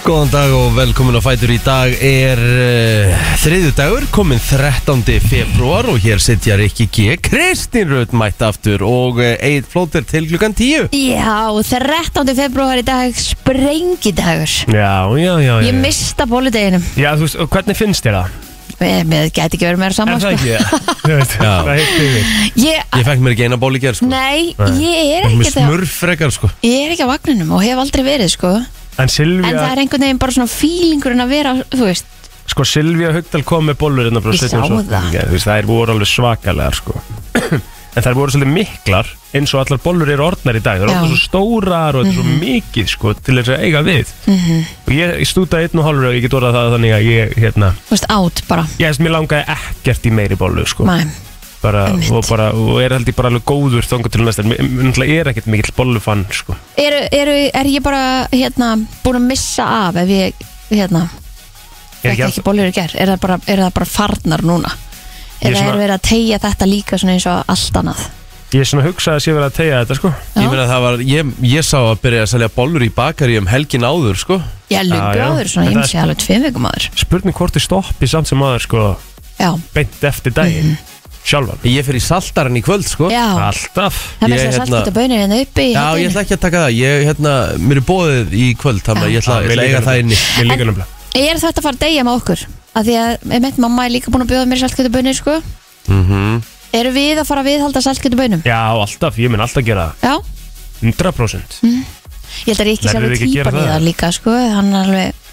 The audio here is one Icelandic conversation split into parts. Góðan dag og velkomin á Fætur í dag er uh, þriðu dagur, komin 13. februar og hér sitja Rikki G. Kristín Rödd mætt aftur og uh, Egil Flóter til klukkan 10 Já, 13. februar í dag sprengidagur Já, já, já, já. Ég mista bóludeginum Já, þú veist, og hvernig finnst þér það? Mér, mér gæti ekki verið meira Er saman það sko. ekki? Þú veist, Já. það heitir við ég, Ég fekk mér ekki eina ból í gerð sko Eh. Nei, ég er Með ekki það smurf frekar sko Ég er ekki á vagninum og hef aldrei verið sko En En það Silvía, er einhvern veginn bara svona fílingurinn að vera Þú veist, sko Silvía Haugdal kom með bollur hérna frá Ég sá 17. það. Já, Þú veist, það er voru alveg svakalega, sko En það voru svolítið miklar eins og allar bollur eru orðnar í dag Það Já. eru Mhm. orðnar svo stórar og þetta er svo mikið, sko, til þess að eiga við Og ég, ég stúta einn og hálfur og ég get orðað það þannig að ég, hérna þú veist át bara Ég veist, mér langaði ekkert í meiri bollu, sko Mæ, bara, einmitt. og, bara, og er held ég bara alveg góður þangað til næst En mér- mér náttúrulega er ekkert mikill bollufann, sko er, er, er ég bara hérna, búin að missa af ef ég hérna, ekki, Ég er ekki ekki bólur í gerð er, það bara- er það bara farnar núna Ég er eða er svona- verið að tegja þetta líka svona eins og allt annað Ég er svona hugsað að sé verið að tegja þetta sko Ég meina það var, ég, ég sá að byrja að selja bólur í bakari um helgin áður sko Ég er lungu Já, já. áður svona, ég Þetta- missi alveg tveim vikum áður Spurning hvort þið stoppi samt sem aður sko Já, Beint eftir daginn Sjálfan Ég fer í saltarinn í kvöld sko já, Alltaf það er ég, með þess að hérna- saltkjöta bönir hérna uppi í Já, ég hellunni. ætla ekki að taka það Ég, hérna, mér er bóðið í kvöld Þannig að ég ætla, Já, ég mér ætla að eiga það líka inni Ég líka nefnilega Ég er þetta að fara að deyja með okkur af því að, ég meint, mamma er líka búin að bjóða mér saltkjöta bönir sko. Mhm. Eru við að fara að viðhalda saltkjöta bönum? Já, alltaf, ég mun alltaf gera það Já, 100% ég held að Ríkis Verður alveg ekki að gera týpan í það? það líka sko. hann alveg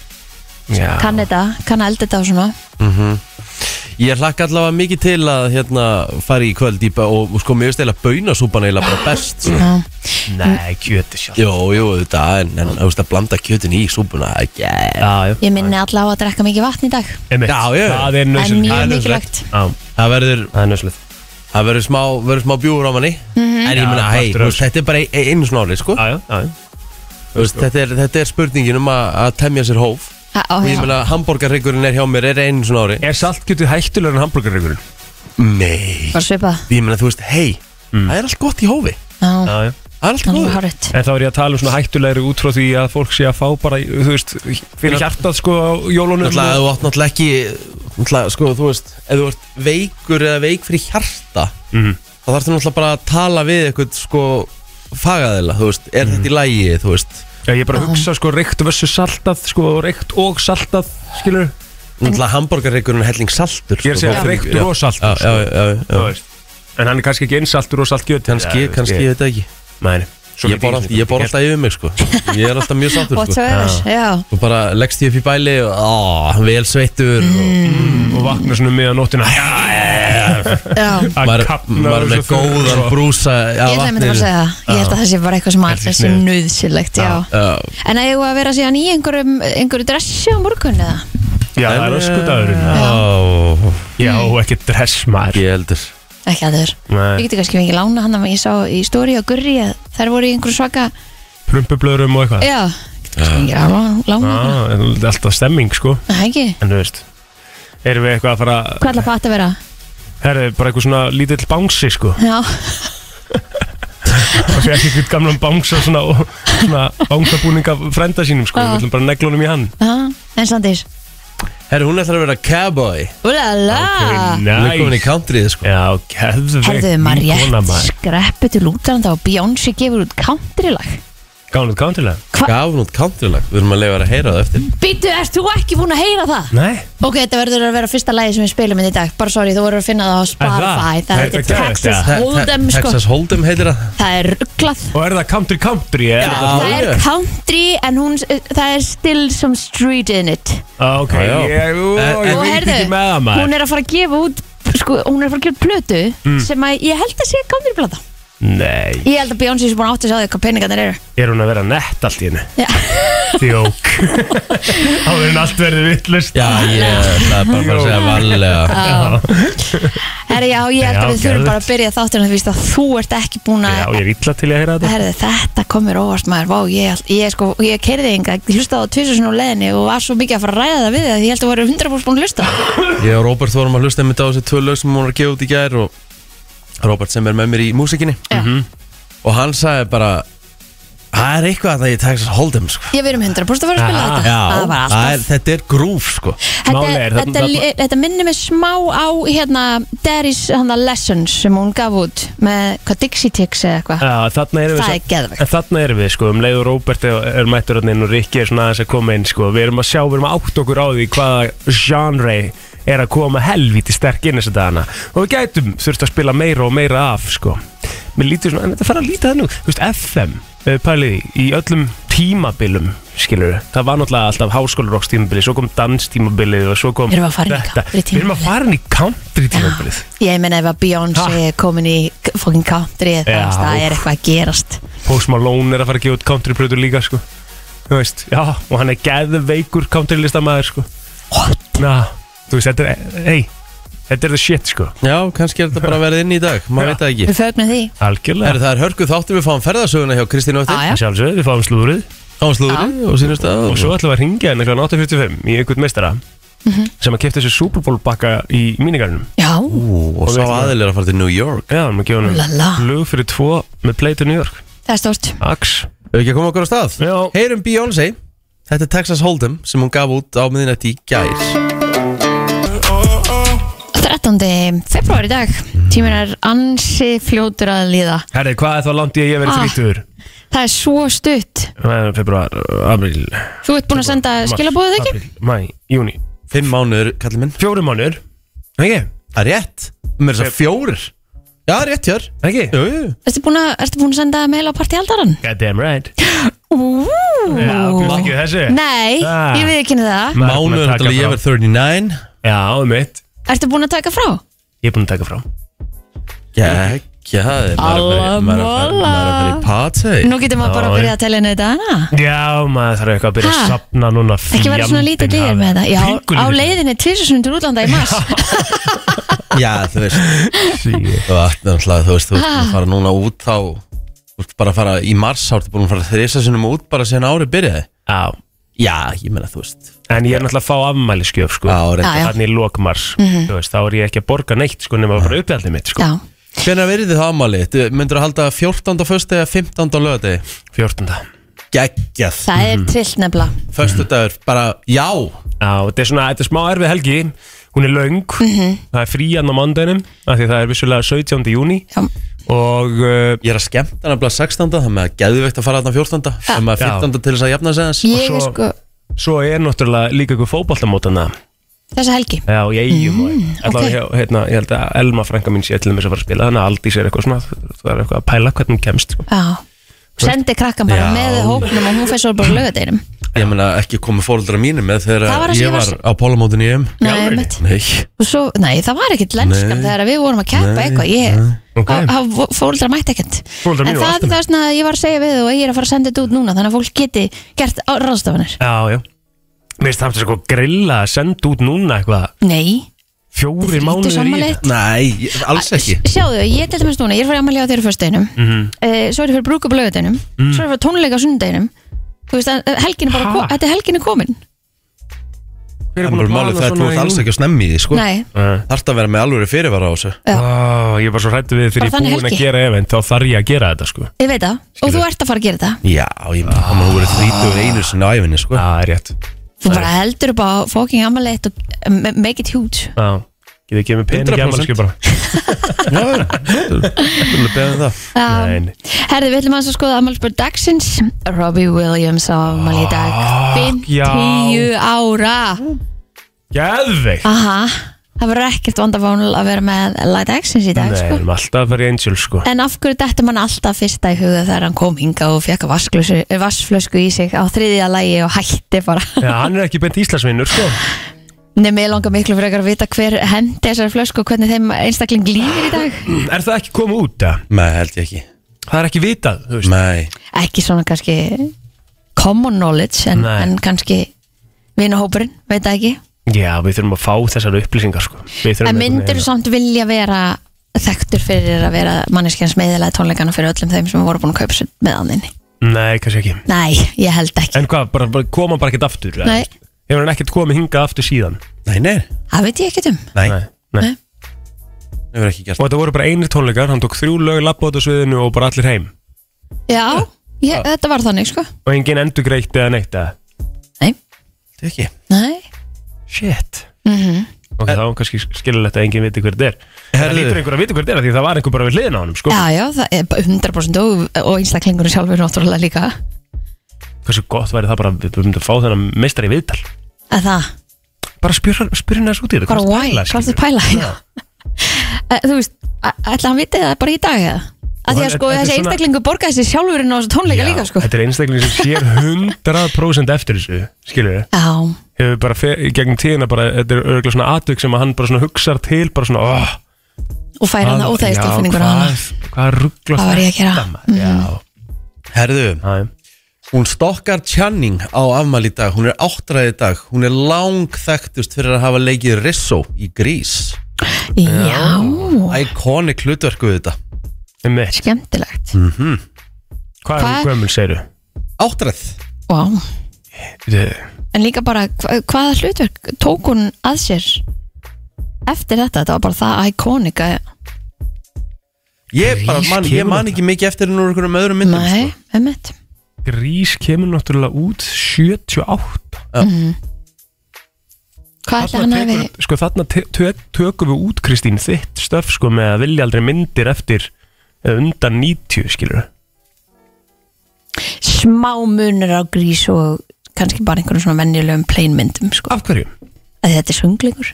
Já kann þetta, kann að elda þetta og svona Ég hlakka allavega mikið til að hérna, fara í kvöld í, ba- og, og sko mér veist eða baunasúpan eða bara best sko. Já. Nei, kjöti sjálf Jú, jú, þetta en, en þú veist að blanda kjötin í súpuna það er gegn. Já, já Ég minni allavega að drekka mikið vatn í dag Einmitt. Já, já. Það er En nöðsynlegt Það mjög er mikilvægt Það Það verður, er nöðsynlegt það verður smá, verður smá bjúur á manni En ég Já, meina, hei, þú partur af veist, þetta er bara ein- einu snári sko. Já, já, já já. Þú veist, þetta, er, þetta er spurningin um að, að temja sér hóf Ha- á, Og ég já. meina, hambúrgarryggurinn er hjá mér er einu snári Er saltkjötið hættulegur en hambúrgarreigurinn? Nei, Mm. Bara svipað ég meina, þú veist, hei Það er allt gott í hófi Já, Já, já Það er allt hann er góð hárutt En þá er ég að tala um svona hættulegri út frá því að fólk sé að fá bara, þú veist, fyrir hjartað sko á jólunum Náttúrulega, þú átt náttúrulega ekki náttúrulega, sko, þú veist, ef þú ert veikur eða veik fyrir hjarta Mhm. þá þarfst þú náttúrulega bara að tala við eitthvað, sko, fagaðila, þú veist er þetta í Mhm. lægi, þú veist Já, ég er bara að hugsa sko reykt versus saltað sko, og reykt og saltað, skilur Sko, náttúrulega hambúrgarreikurinn er helling saltur sko, Ég er að segja þá finn- reyktur já. og saltur, Já, sko. já, já, já, já. En hann er kannski ekki einsaltur og saltgjöt kannski, kannski, ég veit það ekki Nei, svo ég bor, alltaf, ég bor alltaf yfir mig, sko ég er alltaf mjög saltur, sko Whatsoever, já og bara leggst ég upp í bæli og á, vel sveittur Mm. og Og vakna svona miða nóttina Að Já, maður kafna maður er þessu sko. með góðan svo- brúsa ég ætla einmitt að fara að segja það Ég held að það sé bara eitthvað sem Þetta er alltaf sé sniðugt. nöðsilegt já. segja En að ég var að vera síðan í einhverjum, einhverju dressi á morgun eða Já, það er öskudagurinn Ó, Já, og ekki dress maður ég heldur Ekki að þur Ég Nei, geti kannski fengið lána hann að ég sá í stóri og gurri að þær voru í einhverju svaka prumpublöðurum og eitthvað Já, geti kannski fengið lána, lána Já, ah. en það er alltaf stemming sko Nei, ekki En þú veist, erum við eitthvað að fara Hvað ætla patt að vera? Herri, bara eitthvað svona lítill bánsi sko Já, Og fyrir ekki eitthvað gamlan bánsa svona, svona bánsabúninga frænda sínum sko Já. Við ætlum bara neglunum í hann já, en Sandís Herru, hún ætlar að vera cowboy Úlala Hún er komin í countryið sko Já, gæðveikt Herðu maður vinkona, rétt maður. skreppu til útlanda og Beyoncé gefur út countrylag Gáðan út countrilag? Gaf hún út countrylag, við erum að leifa að heyra það eftir Býtu, ert þú ekki búin að heyra það? Nei Ok, þetta verður að vera fyrsta lagi sem við spilum inn í dag Bara sorry, þú verður að finna það á Spotify Er það? Það er Þetta ekki er Texas geðveikt, Hold'em Te- Te- sko Texas Hold'em heitir það Það er rugglað Og er það country country? Já Já. Það er já. country en hún, það er still some street in it ah, Ok, Já, já. ég, ú, En- ég en- Og veit herðu, ekki með það maður hún er að fara að gefa út Sko, hún er að fara að gefa út plötu Mm. Sem að ég held að sé countryplata Nei, Ég held að Beyoncé sé búin að átti að sjá því hvað peningarnir eru er hún að vera nett allt í hennu? Já. Þjók Áður en allt verður vittlust Já, ég ætla bara að fara að segja varlega Herri, já, ég held Já, að við þurfum geðveikt. bara að byrja þátturinn að því víst að þú ert ekki búin Já, að ég er illa til í að heyra þetta Herðu, þetta komur óvart maður, vá, ég, ég sko, ég kerði enga, ég hlustaði á tvisusinn og leðinni og var svo mikið að fara að ræða það við það, ég held að voru 100% búin að hlusta. Ég og Robert vorum að hlusta einmitt á þessi tvö lög sem hún var að gefa út í gær og Robert sem er með mér í músikinni Já. og hann sagði bara Það er eitthvað að það ég Texas Hold'em sko. Ég verðum 100% að fara að spila Aha, þetta Ah, Það var það er, alltaf þetta er grúf sko. Þetta, Málið er, þetta, þarna- þetta, þetta minnir mig smá á hérna, Derry's hana, Lessons sem hún gaf út með hvað Dixie Ticks eða eitthvað Já, þarna erum við Það sa- er geðvegt. En þarna erum við sko, um leið og Róbert er, er mættur hann inn og Rikki er svona aðeins að koma inn sko Við erum að sjá, við erum að átt okkur á því hvaða genre er að koma helvíti sterk inn þess að dagana Og við gætum þurft að spila meira og meira af sko Mér lítur svona, en þetta fara að líta þannig, út. þú veist, FM ef við Pælið í, í öllum tímabilum, skilur Það var náttúrulega alltaf háskólarokks tímabili, svo kom danstímabilið og svo kom Erum við að fara inn í þetta. country Við erum að tímabilið? fara inn í country tímabilið Ég meina ef að Beyoncé er komin í k- fucking country þá Já. veist, það er eitthvað að gerast Post Malone er að fara að gefa út countryplötu líka sko. Þú veist, já, og hann er geðveikur countrylistamæður sko. What? Na, þú veist, þetta er, hei, þetta er the shit sko. Já, kannski er þetta bara að verða inn í dag Maður Já. veit það ekki Við fögnum því Herru, Algjörlega. það er hörkuð þáttur við fáum ferðasöguna hjá Kristín Óttir Já, já. Sjálfsögðu, við fáum slúrið Án slúðri og sínust að og svo ætlum við að hérna ringja henni kl. 8.45 í einhvern meistara sem að kefta þessu Super Bowl bakka í mínigarnum. Já, Og sá aðil er að fara til New York Já, hann er að gefa Úlala. henni flug fyrir tvo með play to New York. það er stórt Ax. Hefur ekki að koma okkur á stað? Já. Heyrum Beyoncé Þetta er Texas Hold'em sem hún gaf út á miðinætti í gæs 13. februar í dag Mm. Tíminn er ansi fljótur að líða Herri, hvað er þá langt í að ég verið Ah. þrítur? Það er svo stutt Ah. Februar, apríl, Þú ert búin að senda mars, skilabóðið Eh, ekki? apríl, Mæ, júni, Fimm mánuður, kallið minn fjórum mánur. Ekki? Það er rétt Mér er þess að fjórir Já, rétt hjör Ekki? Jú, jú Ertu búin að, ertu búin að senda mail á partíaldaran? God damn right Úúú Já, bjóst ekki við þessu Nei, Ah. ég við ekki það Maður er búinn að Mánuður, taka náttúrulega, ég frá. verð 39 Já, um mitt Ertu búin að taka frá? Ég er búinn að taka frá Gekkjaði Alla mola. Maður er að fara í party Nú getur maður bara að Já, byrja að telja henni þetta hana Já, maður þarf eitthvað að byrja Ha? að sapna núna Ekki vera svona lítið dýr með það Já, á leiðinni tvisasunum til útlanda í mars Já, þú veist leið Þú ert náttúrulega, þú veist, þú ert Ha. búin að fara núna út þá Þú ert bara að fara í mars Þá ertu búin að fara þrisa sinum út bara síðan árið byrjaði Já, Já, ég meina, þú veist en ég er náttúrulega að fá afmæliskjöf sko Já, reyndar. Já, já. Þannig í lokmars Þú veist, þá er ég ekki að borga neitt sko nema bara uppjaldið mitt sko Já, Hvenær verið þið það ámali? Myndur að halda 14. föstu eða 15. lögadegi? 14. Geggjað það Mhm. er trillt nefnilega Föstudagur, bara já Já, þetta er svona, þetta er smá erfið helgi Hún er löng Mhm. Það er frían á mándaginum Því það er vissulega 17. júni Já, Og uh, Ég er að skemmta nefnilega 16. Það með að geðveikt að fara þarna 14. Það með að 15. til þess að jafna sig aðeins ég svo- er sko svo er náttúrulega líka ykkur fótballtamótana Þessa helgi Já, ég eigum mm, ok. okay. hérna, Ég held að Elma frænka mín sé til þess að fara að spila Þannig að Aldís er eitthvað svona Það er eitthvað að pæla hvernig hún kemst sko. Já Sendi krakkan bara Já. með hóknum og hún fæst svo bara lögadeinum Ég meina ekki komið fóreldra mínu með Það var þegar að ég segja var á pólamótinu í EM Nei, mitt Nei, Og svo, nei, það var ekkert Nei. lenskap þegar við vorum að keppa Nei, eitthvað Ég, Ok. okay. fóldra mætti ekkert Foreldrar En mínir voru það alltaf er það svona að ég var að segja við og ég er að fara að senda þetta út núna Þannig að fólk geti gert á- ráðstafanir Já, já Mér finnst það sko grilla að senda út núna eitthvað Nei, Fjóri lítið mánuður í samanleitt Nei, ég- alls ekki Mhm. Sjáðu, ég til dæmis núna, ég er fyrir ammali á þér fyrsteginum mm -hmm. Svo er ég fyrir brúkup á lögadeginum Mm. Svo er ég fyrir tónleika á sundeginum Þú veist að helgin er bara, Ha? ko- þetta er helgin er komin Það Hver er bara málið það að þú ert alls ekki að snemmi í því sko Nei, Þart að vera með alveg fyrirvara á þessu Eh. Ó, Ég er bara svo hrættu við Bara þegar ég er þannig búin að helgi. gera event Þá þarf ég að gera þetta sko ég veit það Og þú ert að fara að gera þetta Já, ég meina, hann var verið 31 sinni á æfinni sko Já, það er rétt Þú bara heldur upp á fucking ammali og m- make it huge Já Getið ekki með pening 100% í amalskjöf bara Já, já, þú erum beðið um það Já. Nei, nei. Herði, við ætlum aðeins að skoða afmælisbörn dagsins Robbie Williams á afmæli í dag Ah, 50 ára Geðveik Aha, það verður ekkert vandafánul að vera með lag dagsins í dag Nei, við sko. erum alltaf að fara í Angel sko En af hverju dættu mann alltaf fyrsta í huga þegar hann kom hinga og fekk vassflösku í sig á þriðja lægi og hætti bara Já, hann er ekki beint Íslandsvinnur sko Nei, mig langar miklu frekar að vita hver hendi þessar flösku og hvernig þeim einstakling lífir í dag Er það ekki komið út að? Nei, held ég ekki Það er ekki vitað, þú veist Nei, Ekki svona kannski common knowledge en, Nei. en kannski vinahópurinn, veit það ekki Já, við þurfum að fá þessar upplýsingar sko. Við þurfum En einhvern myndir þú veginn samt vilja vera þekktur fyrir að vera manneskjans meðlega tónleikana fyrir öllum þeim sem voru búin að kaupa sér með aðninni? að- Nei, kannski ekki Nei, ég held ekki. En hvað, bara, bara koma hann bara ekkert aftur eða, Nei. þú veist? Hefur hann ekkert komið hingað aftur síðan nei, nei, Það veit ég ekkert um. nei, Nei, nei. Nei. það verður ekki gert Og þetta voru bara einir tónleikar Hann tók þrjú lög, labba á þetta sviðinu og bara allir heim Já, ég, þetta var þannig sko Og engin endur greitt eða neitt eða Nei, Þetta er ekki nei Shit Ok, þá er kannski skilulegt að enginn viti hver þetta er Það Herðu. lítur einhver að viti hver þetta er af Því það var einhver bara við hliðin á honum sko. Já, já, það er bara 100% og, og einstaklingur sjálfur náttúrulega líka Hversu gott væri það bara að Við myndum að fá þennan meistari í viðtal að það, Bara spyrja spyr henni þessu út í þetta bara hvað why, hvað ertu að er skilurðu? það pæla já. Eh, Þú veist, ætla hann vitið það bara í dag eða? Að því að hann- sko þetta er þessi svona- einstaklingur borgaði sér sjálfurinn á þessu tónleika líka sko Þetta er einstakling sem sér 100% eftir þessu Skilur við Já, Hefur bara fer, í gegnum tíðina bara Þetta er örgulega svona atvík sem að hann bara svona hugsar til Bara svona oh, og færi hann það óþægistilfinningur á hana Hvað, hvað ruggla Hvað var ég að gera? Mhm. Já, Herðu, aðeim hún stokkar Channing á afmæli í dag Hún er áttræði í dag Hún er langþekktust fyrir að hafa leikið Rizzo í Grís Já, Iconic hlutverku við þetta Einmitt. skemmtilegt Mm. Hvað er Hvað- hún gömul, segir Áttræð Vá, þú? en líka bara hva, hvaða hlutverk tók hún að sér eftir þetta, þetta var bara það ikonika Ég, bara, man, ég man ekki mikið eftir henni úr einhverjum öðrum myndum sko. Nei, emmitt Grís kemur náttúrulega út 78 Hvað ætla hann að við tekur, sko, Þarna te- tök, tökum við út Kristín þitt stöf sko, með að vilja aldrei myndir eftir eða undan 90 skilur smá munur á grís og kannski bara einhverjum svona venjulegum pleinmyndum sko. Af hverju? að þetta er sönglingur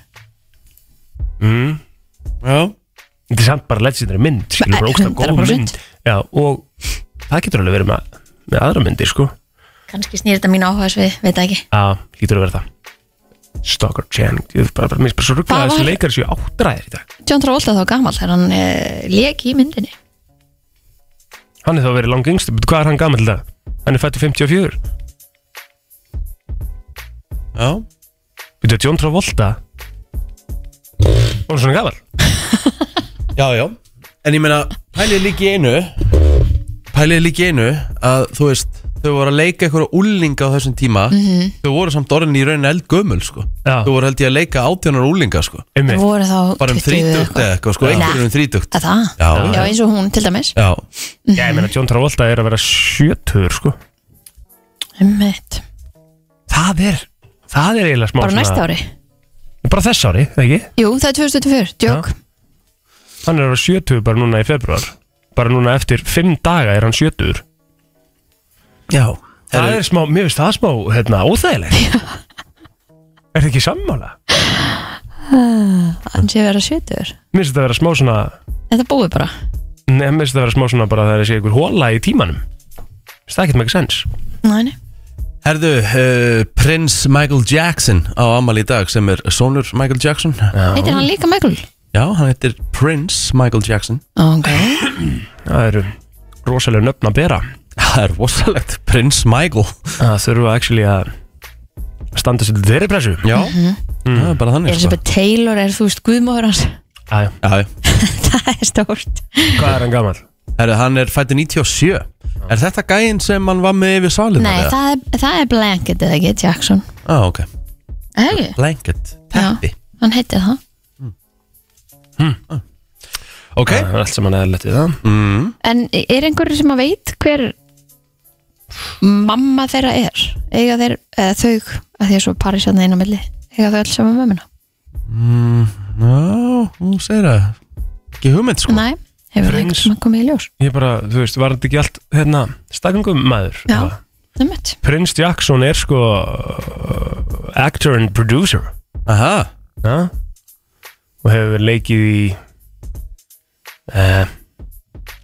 Mm. sko. Já Þetta er samt bara legendary mynd Nei, skilur, bara ógsta góð 100%. mynd Já, og það getur alveg verið með, með aðra myndir sko kannski snýr þetta mín áhuga svið, veit það ekki Já, hlýtur að vera það Stalker Channing, ég er bara, bara, mér er bara svo rugglega Hvað þessi var- leikari séu áttræðir í dag John Travolta þá gammal þegar hann eh, lék í myndinni Hann er þá verið langt yngst, hvað er hann gamall í dag? Hann er fættu 54 Já Býttu að John Travolta Hún er svona gafal Já, já En ég meina, pælið líki einu Pælið líki einu að þú veist Þau voru að leika einhverja úlinga á þessum tíma Þau voru samt orðin í rauninni eldgömmul sko. Já. Þau voru held ég að leika átjónar úlinga sko. Einmitt voru þá Bara um 20 þrítugt eða eitthvað sko, Nei. Einhverjum um þrítugt Að það? Já. Já, eins og hún til dæmis Já, Já, ég meina John Travolta er að vera sjötur sko Einmitt. Það er, það er eiginlega smá bara svona- næsta ári Bara þess ári, eða ekki? Jú, það er 2024, djók Hann er að vera sjötur bara núna í februar Bara núna eftir fimm daga er hann sjötur já. Það Herru, er smá, mér finnst það smá, hérna, óþægilegt Er það ekki sammála? hann sé að vera 70 Mér finnst það vera smá svona þetta búið bara Nei, mér finnst það vera smá svona bara að það er sé einhver hóla í tímanum Mér finnst það ekkert með ekki sens Næ, nei. herðu uh, Prins Michael Jackson á amal í dag sem er sonur Michael Jackson heitir hann líka Michael? Já, hann heitir Prince Michael Jackson ok, Það eru rosalega nöfn að bera Það er rosalegt, Prince Michael að þurfa actually að standa sér til þeirri pressu Já, Mhm. það er bara þannig sko. Elizabeth Taylor er þú veist guðmóður hans Æ, Já, já það er stórt hvað er hann gammal? Herru, hann er fættur 97 Er þetta gæinn sem hann var með yfir salinu? Nei, það er, það er Blanket eða ekki, Jackson Á, ok Hei, Blanket, Já. teppi hann heitir það Ok, Það er allt sem hann eða letið það En er einhverju sem að veit hver mamma þeirra er? Eiga þeir, eða þau að því að svo pari sérna einu á milli Eiga þau alls saman mömmuna? já, hún segir það Ekki hugmynd sko Nei, hefur Friends. einhverju sem að koma í ljós Ég bara, þú veist, var þetta ekki allt hérna, stafingum maður Já, það mitt Prins Jackson er sko uh, actor and producer Aha, ja? og hefur verið leikið í uh,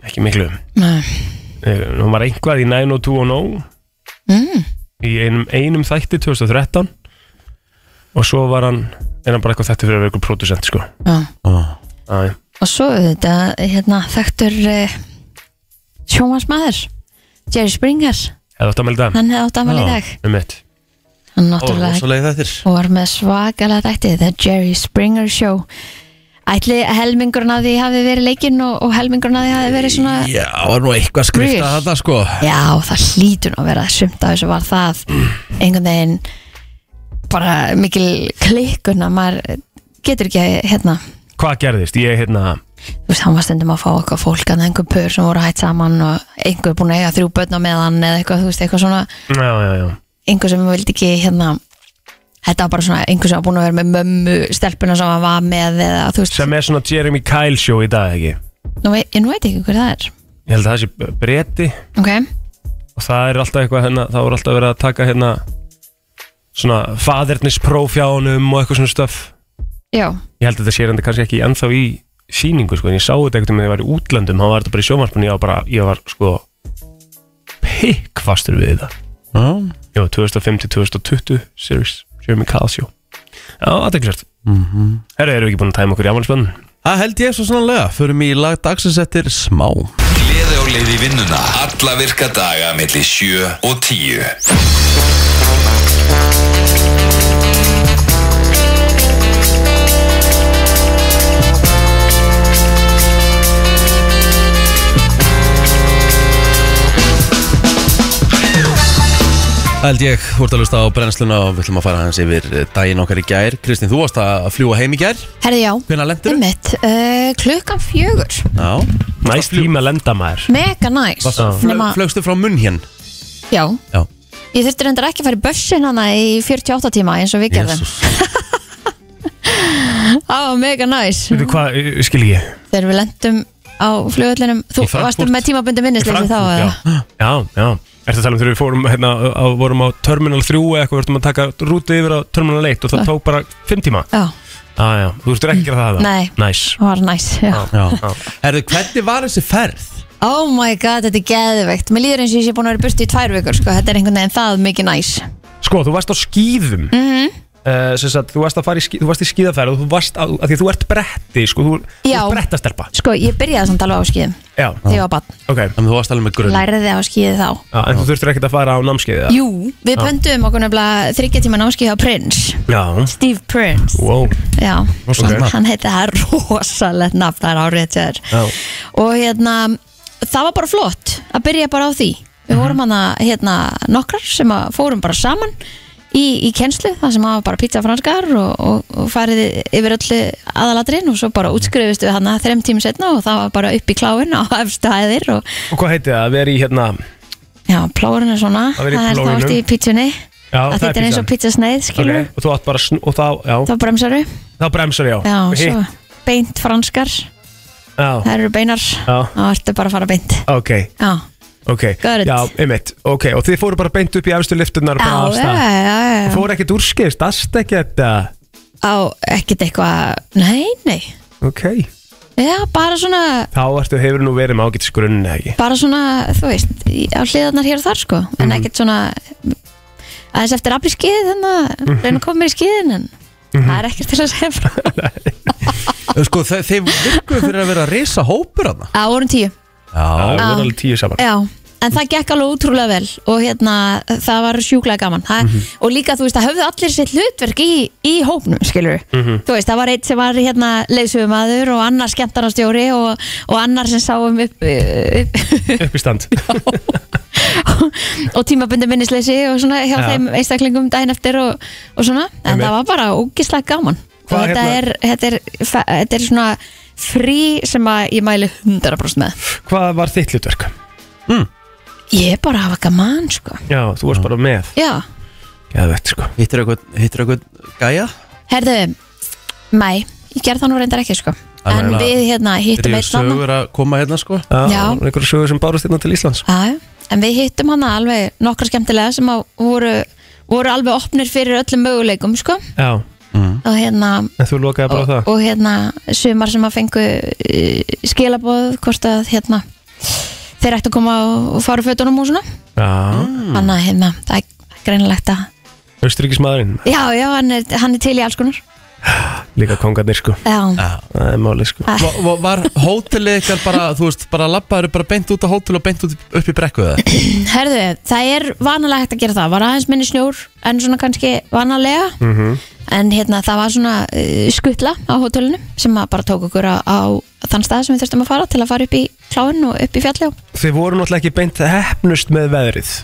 ekki miklu uh, Nei. hún var einhvað í 90210 mm, í einum, einum þætti 2013 og svo var hann er hann bara eitthvað þætti fyrir að vera eitthvað producent sko. Já, oh. Æ, og svo þetta hérna, þekktur eh, sjónvarsmaður Jerry Springer, eða þetta meldi það hann hefði átt amal í Já. dag um mitt Hann og náttúrulega svo leið þettir og var með svakalega þætti The Jerry Springer Show Ætli helmingurinn af því hafi verið leikinn og, og helmingurinn af því hafi verið svona Já, var nú eitthvað skrift að Grill. þetta sko Já, það hlýtur nú að vera sumt af þessu var það einhvern veginn bara mikil klikkun að maður getur ekki að hérna hvað gerðist? Ég, hérna, þú veist, hann var stundum að fá eitthvað fólk að einhver pör sem voru hætt saman og einhver búin að eiga þrjú börn á meðan eða eitthvað, þú veist, eitthvað svona já, já, já einhver sem vildi ekki hérna þetta var bara svona einhver sem var búin að vera með mömmu stelpuna sem hann var með eða þú veist, sem er svona Jeremy Kyle show í dag ekki nú, veit- ég nú veit ekki hver það er ég held að það sé breyti ok, og það er alltaf eitthvað hérna, þá er alltaf verið að taka hérna svona fadernispróf hjá honum og eitthvað svona stöf já, ég held að þetta sé hérna kannski ekki ennþá í síningu sko, en ég sá þetta ekkert um að ég var í útlöndum þá var þetta bara í sjómarspunni, ég var bara, ég var sko pikkfastur við þetta Já, já, 2005-2020 series, Jeremy Kyle show já, það er ekki sért herru, erum við ekki búin að tæma okkur í afmælspönn mhm. það held ég svo sannlega Förum í lag dagsins eftir smá Gleði og leiði vinnuna Alla virka daga melli 7 og 10 Það held ég, þú ert að lusta á brennsluna og við ætlum að fara hans yfir eh, daginn okkar í gær Kristín, þú varst að fljúa heim í gær herði já Hvenær lendur? Einmitt, uh, klukkan fjögur Já næst tíma að lenda maður mega næs Já. Nema- Flögstu frá munn hér já, Já ég þurfti reyndar ekki að fara í bussin hana í 48 tíma eins og við gerðum Jesús. það var mega næs Veitu hvað, ég- ég skil ég þegar við lendum á flugöllinum þú Í Frankfurt. varstu með tímabundi minnisleysi þá Frankfurt, eða? já. já, já Ertu að tala um þegar við fórum, hérna, á, vorum á Terminal 3 eða eitthvað, við vartum að taka rúti yfir á Terminal 1 og það tók bara 5 tíma já, ah, já. Þú ert ekki að gera það það? Nei. Næs það var næs já. Já Herðu, hvernig var þessi ferð? Oh my god, þetta er geðveikt Mér líður eins og ég sé búin að vera í burtu í tvær vikur sko. Þetta er einhvern veginn það mikið næs Sko, þú varst á skýðum mm -hmm. Mhm. sagt, þú, varst að fara í skí, þú varst í skíðaferð og þú varst á, að því þú ert bretti sko, þú, þú Já. ert brettastelpa Sko, ég byrjaði samt alveg á skíðum Já, Þegar ég var barn, ok En þú varst alveg með grunn læriði á skíði þá Já, en þú þurftur ekkert að fara á námskeiði Jú, við pönduðum okkur nefnilega þryggja tíma námskíði á Prince Já, Steve Prince wow Já, Rosalegt nafn. hann heiti það er rosalegt nafn, það er árið þér Já. Og hérna, það var bara flott að byrja bara á því Við Mhm. vorum hana, hérna, nokkrar sem að fórum bara saman í, í kennslu Það sem hafa bara pizza franskar og, og, og farið yfir öllu aðalatrin Og svo bara útskrifistu við hana þrem tíma setna og það var bara upp í kláin á efstu hæðir Og Og hvað heiti það að vera í hérna já, plórun er svona, Að vera í það er plóginum. allt í pizzunni Já, Að það er þetta er eins og pizzasneið, skilur okay. Og þú átt bara, sn- og þá, já, Þá bremsaru, þá bremsar já já, Og hitt, svo beint franskar já. Það eru beinar Það ertu bara að fara beint Ok, Já, ok Got it. Já, einmitt, ok Og þið fóru bara beint upp í efstu liftunar og bara já, af já, stað. já, Þið já. fóru ekkert úrskist, dast ekkert uh, Á, ekkert eitthvað Nei, nei Ok Já, bara svona Þá ertu hefur nú verið með ágætis grunni, eða ekki? Bara svona, þú veist í- Á hliðarnar hér og þar, sko En ekkert svona Aðeins eftir afli skið Þannig að reyna að koma mér í skiðin En það er ekkert til að segja frá Sko, þe þeir virkuðu fyrir að vera að risa hópur hana Á, vorum tíu Já Það Já. voru alveg tíu saman Já, en það gekk alveg útrúlega vel og hérna, það var sjúklega gaman það, og líka, þú veist, það höfðu allir sitt hlutverk í, í hópnum, skilur þú veist, það var eitt sem var hérna leysumæður og annar skemmtarnastjóri og, og annar sem sáum upp, upp Upp í stand og tímabundi minnisleysi og svona hjá Já. þeim einstaklingum daginn eftir og, og svona, en Einmitt. það var bara ógislega gaman Hvað og þetta hérna- er, þetta, er, fe- þetta er svona frí sem að ég mæli 100% með Hvað var þitt hlutverk? ég er bara að hafa gaman, sko Já, þú varst bara með já Geðvett, sko Hittir eitthvað, hittir eitthvað gæja? Herðu, mæ, ég gerði það nú reyndar ekki sko Það En var við hérna hittum Hittir eitt annan sögur að koma hérna, sko Já. og Einhverju sögur sem bárust hérna til Íslands Já, En við hittum hana alveg nokkra skemmtilega sem að voru, voru alveg opnir fyrir öllum möguleikum sko Já, Mm. Og hérna, en þú lokaði bara á og, það og hérna sumar sem að fengu uh, skilaboð Hvort að hérna þeir ættu að koma og, og fara úr fötunum og svona Já, Þannig að hérna, það er greinilegt að austuríkismadurinn, Já, já, hann er, hann er til í alls konar líka kongarnir, sko Já, Það er máli, sko Va va var hótelið ykkar bara, þú veist, bara labbaður bara beint út á hótel og beint út upp í brekku eða? Herðu, það er vanalega hægt að gera það Var aðeins minni snjór en svona kannski vanalega Mhm. En hérna það var svona uh, skutla á hótelinu Sem að bara tók okkur á, á þann stað sem við þurftum að fara Til að fara upp í kláin og upp í fjalli og- Þið voru náttúrulega ekki beint hefnust með veðrið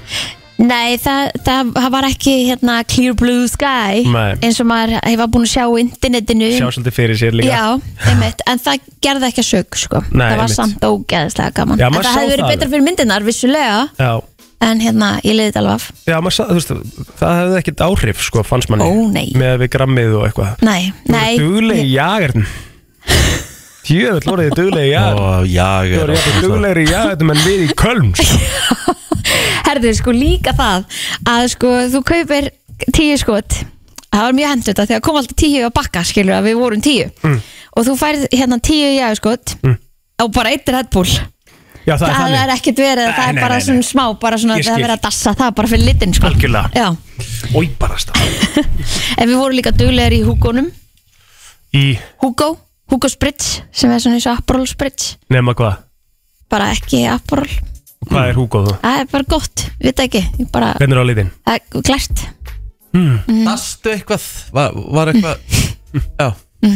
Nei, það, það, það var ekki hérna clear blue sky Nei. eins og maður hefur búin að sjá á internetinu Sjá svolítið fyrir sér líka Já, einmitt, en það gerði ekki að sög sko. Nei, það var einmitt. samt ógeðislega gaman Já, en maður það sá hefði verið það betra fyrir myndirnar, vissulega Já, en hérna, ég leiði þetta alveg af já maður, sa- þú veist, það hefði ekkert áhrif sko, fannst manni Ó, nei. með við grammið og eitthvað Nei, nei, Duglegi jagerðin Jöfell voru þið duglegi jagerðin Ó, já, ég Þú er voru jafnir duglegri í jagerðin en við í köln sko. herðu sko líka það að sko þú kaupir tíu skot það var mjög hendur þetta þegar kom alltaf tíu á bakka skilur að við vorum tíu Mm. og þú færð hérna tíu jáskot mm. og bara eittir headbull Já, það, það, er er þannig ekkert verið, það Nei, nei, er bara nei, nei. svona smá bara svona Ég það skil. er verið að dassa, það er bara fyrir litin sko. Algjörlega. Já, Ói, bara stað en við vorum líka duglegar í húgónum Í Hugo, Hugo Spritz sem er svona eins og Aperol Spritz nema hvað bara ekki Aperol, Hvað er Hugo þú? það er bara gott við það ekki, ég bara, Hvernig er á litin? það er glært Dastu eitthvað? Var, var eitthvað? Já,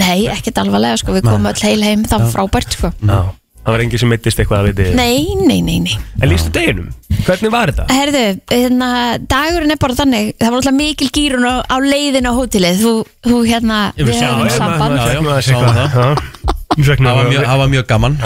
nei, ekkert alvarlega sko, við komum öll heil heim, það var frábært sko Mm. Já Það var engin sem mittist eitthvað að viti nei, nei, nei, nei En lístu deginum? Hvernig var þetta? herðu, hérna, dagurinn er bara þannig það var alltaf mikil gýrun á, á leiðin á hótelið, þú, þú hérna við vissi höfum að- samband Já, já, Svegnaði sáum eitthvað Já. Söknuðu það var að- mjög, það var mjög gaman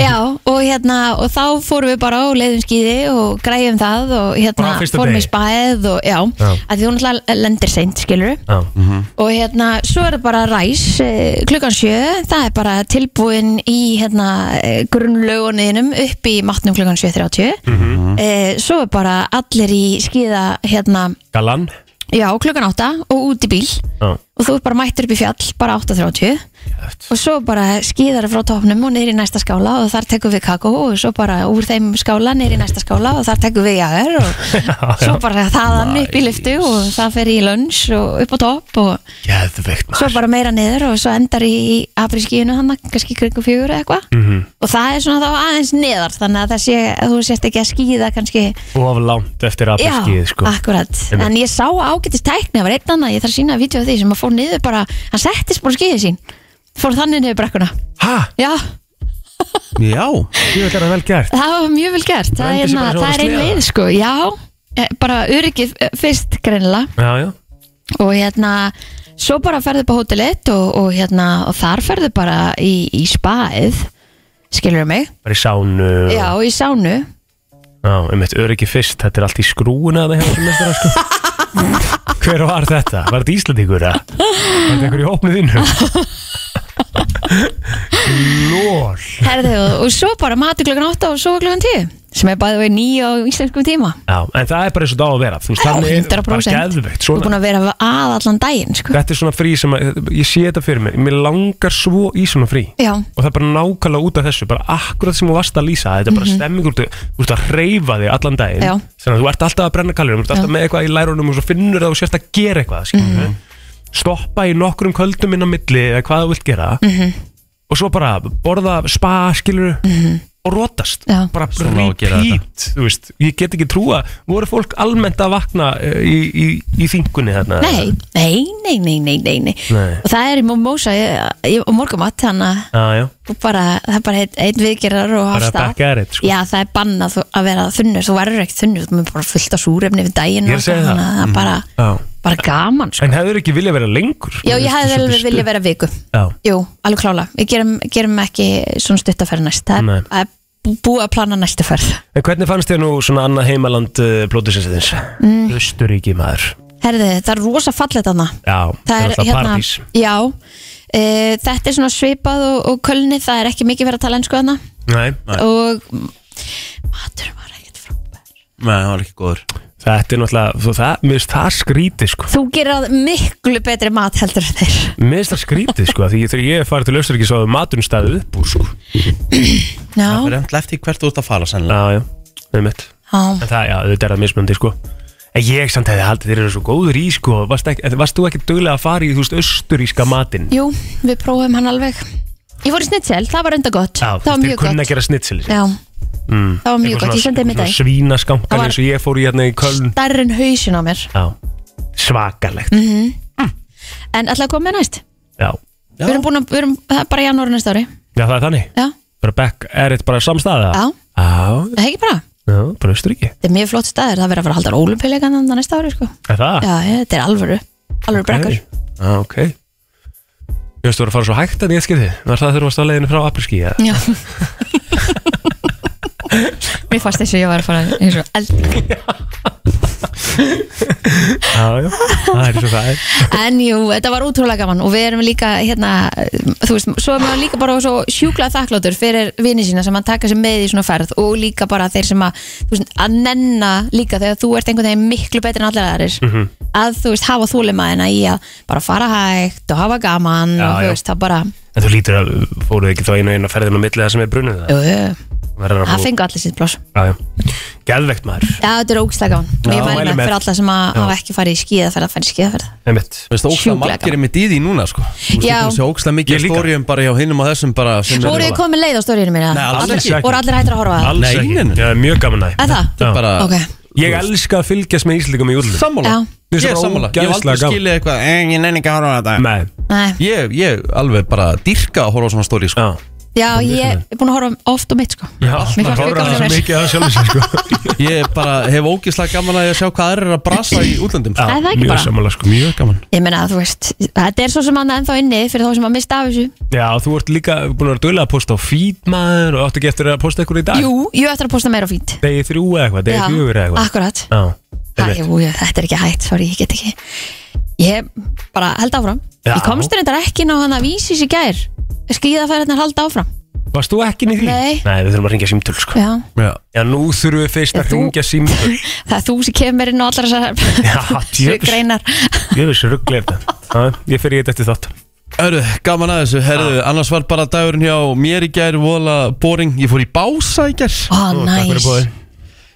Já, og hérna, og þá fórum við bara og leiðum skýði og græjum það og hérna, Bara á fyrsta fórum í degi? spæð og já, Já. að því hún alltaf lendir seint, skilur Já. Mhm. og hérna, svo er það bara ræs eh, klukkan sjö, það er bara tilbúin í hérna eh, grunnlöguninum upp í matnum klukkan 7.30 Mhm. eh, svo er bara allir í skýða hérna, Galan já, klukkan 8 og út í bíl Já. og þú er bara mættur upp í fjall, bara 8.30 og svo bara skýðar frá topnum og niður í næsta skála og þar tekum við kakó og svo bara úr þeim skála niður í næsta skála og þar tekum við jaður og svo bara þaðan upp í lyftu og það fer í lunch og upp á topp og Geðveikt svo bara meira niður og svo endar í afriskíinu hann kannski kringum fjögur eða eitthvað -hmm. og það er svona þá aðeins niðar þannig að það sé, þú sért ekki að skýða kannski Of langt eftir Já, aðbeskið sko. akkurat Einmitt. En ég sá ágættist tækni, það var einn annað Ég þarf að sína að vídeo af því sem að fór niður bara Hann settist bara á skýðið sín Fór þannig niður brekkuna Hæ? Já, Já, Ég vil að vel gert það var mjög vel gert Það, Renndi er sig hérna- bara það svona er ein sleða. leið sko Já, eh, bara öryggið eh, fyrst greinilega Já, já og hérna svo bara ferðu upp á hótelið og, og hérna og þar ferðu bara í, í spaðið skilur mig Bara í sánu já, í sánu Já, um eitt öryggi fyrst Þetta er allt í skrúuna að það hefur sem mestara sko. Hver var þetta? Var þetta Íslandíkur? eða? Var þetta einhver í hópnu þínu? Lól Herðu, og, og svo bara matur klokkan 8 og svo klokkan 10 sem er bæðið við nýja á íslenskum tíma Já, en það er bara eins og það á að vera Þú veist, Já, þannig er 100% bara geðveikt Þú er svona. búin að vera að allan daginn sko. Þetta er svona frí sem að, ég sé þetta fyrir mér Mér langar svo í svona frí Já, og það er bara nákvæmlega út af þessu bara akkurat sem þú varst að lýsa þetta er bara stemmingur þú þú ert að reyfa þig allan daginn Mhm. Já. þannig að þú ert alltaf að brenna kaljurum þú ert alltaf með eitthvað í lærunum og svo finnur það og sérst að gera eitthvað mm Mhm. stoppa í nokkrum kvöldum inn á milli eða hvað þú vilt gera Mhm. og svo bara borða spa skilur og rótast Mhm. Já. bara Svona á að gera repeat þú veist, ég get ekki trúa voru fólk almennt að vakna eh, í, í, í þingunni þarna nei, nei, nei, nei, nei, nei, nei. Nei. Og það er í mimosa í- í- og morgumatt þannig að Ah, Já, já. þú bara, það er bara einn ein viðgerðar og Bara hafstað. back at it, sko. Já, það er bannað þú- að vera þunnur, þú verður ekkert þunnur þú er bara fullt af súrefni við daginn Ég er og að segja eitthvað, það. Mm. þannig að það er bara, Já. bara gaman sko. en hefur ekki viljað vera lengur sko, Já, þú ég veist, hefði þú alveg svolítið viljað vera viku Já. Jú, alveg klála, við gerum, gerum ekki svona stuttaferð næst það Nei. er- það er bú- búið að plana næstu ferð En hvernig fannst þér nú svona annað heimaland uh, blóðisinsins? Mm. Östuríki maður Herði, það er rosa fallet þarna Já, það er náttúrulega hérna paradís. Já, e, þetta er svona svipað og, og kölni, það er ekki mikið verið að tala ennsku þarna Nei, og mm, matur var ekkert frábær Nei, það var ekki góður þetta er náttúrulega þú- það, Mér finnst það skrítið sko Þú gerir miklu betri mat heldur en þeir Mér finnst það skrítið sko Því þegar ég hef farið til Östuríki svo hafði maturinn staðið upp úr sko Það Já, er eftir eftir hvert þú ert að fara sennilega Já, já, með mitt já En það, já, þetta er það mismöndi sko En ég samt hefði haldið þeir eru svo góður í sko Varst, ekki, varst þú ekki duglega að fara í þú veist östuríska matinn? Jú, við prófum hann alveg Ég fór í snitsel, það var enda gott Já, Það var mjög Þeir kunna gott að Mm. gera snitsel Já, það var mjög gott, ég sendið mér dag Það Svínaskankan var- eins og ég fór í hérna í Köln Darren hausin á mér Já, svakalegt Mm. En ætlaði að koma með næst Já, Við erum búin að, við erum, það er bara í janúar næsta ári Já, það er þannig Já, Bara back, er þetta bara samstæða? já, Já, það er ekki bara Já, bara Östuríki Þetta er mjög flott staður, það verður að fara að halda ólumpíleikan þannig næsta ári sko. Er það? Já, ég- þetta er alvöru, alvöru brekkur Já, ok Ég veist þú voru að fara svo hægt að ég skipti Var það þurfast að leiðinu frá Apriski eða? Já Mér fannst þessu ég var að fara eins og eld Já, já, það er svo það er En jú, þetta var útrúlega gaman og við erum líka hérna, þú veist, svo er maður líka bara svo sjúklað þakkláttur fyrir vini sína sem að taka sér með í svona ferð og líka bara þeir sem að, þú veist, að nenna líka þegar þú ert einhvern veginn miklu betri en allir aðrir Mhm. að þú veist, hafa þúlimaðina í að bara fara hægt og hafa gaman Já, og þú já. veist, það bara, En þú lítur að fóruð ekki þá einu einu ferðin á milli það sem er brunnið það jú, jú, Verður að það bú fengu allir sitt pláss Já, já Geðvegt maður Já, þetta er ógislega gaman Ég Já, mæli mæli með með. fyrir alla sem að hafa ekki farið í skíðaferð að fara í skíðaferð Einmitt Þú veist, ógslag Sjúklega margir er mitt í því núna, sko Þú veist, Já. þú sé ógslag Ég mikið líka. stórium bara hjá hinnum og þessum bara sem eru Voru þið bara- komið leið á stóriðinu mínu? Nei, alls Allir- ekki. Voru allir hættir að horfa að það? Alls Nei, ekki nei, nei. Já, mjög gaman að Er það? Þetta er Já. bara Ok, Ég elska að fylgjast með Íslandingum í útlum Sammála Já. Mér Ég finnst er það bara sammála Ég hef aldrei ógeðslega gaman. skilið eitthvað En ég nenni ekki að horfa á þetta Nei nei Ég, ég alveg bara dyrka að horfa á svona stóri, sko Já Já, ég er búin að horfa oft og mitt sko Mér Já, fannst maður mjög horfir gaman að að það mér mikið að sjálf sér sko Ég bara hef ógislega gaman að ég sjá hvað aðrir eru að brasa í útlöndum Æ, sko. það er ekki Mjög bara samanlega sko, mjög gaman Ég meina að þú veist, þetta er svo sem annað ennþá inni fyrir þá sem að mista af þessu Já, þú ert líka búin að vera dögulega að posta á feed maður og áttu ekki eftir að posta eitthvað í dag Jú, ég á eftir að posta meira á fít Degi þrjú eða eitthvað, degi fjögur eða eitthvað akkurat Já, Æ, einmitt. jú, jú, Þetta er ekki hægt, sorry, ég get ekki Ég bara held áfram Já. Ég komst reyndar ekki ná hann að vísi sér gær Skíðaferðarnar halda áfram Varst þú ekki inn í því? Nei. við þurfum að ringja símtöl sko Já, Já. Já, nú þurfum við fyrst Er að þú- ringja símtöl það er þú sem kemur inn á allar Já, þessar djöfull. greinar Ég veist rugglega þetta Já, Ég fer í þetta eftir þátt Hörru, gaman að þessu, herðu, annars var bara dagurinn hjá mér í gær, vola boring, ég fór í bása í gær Ó, næs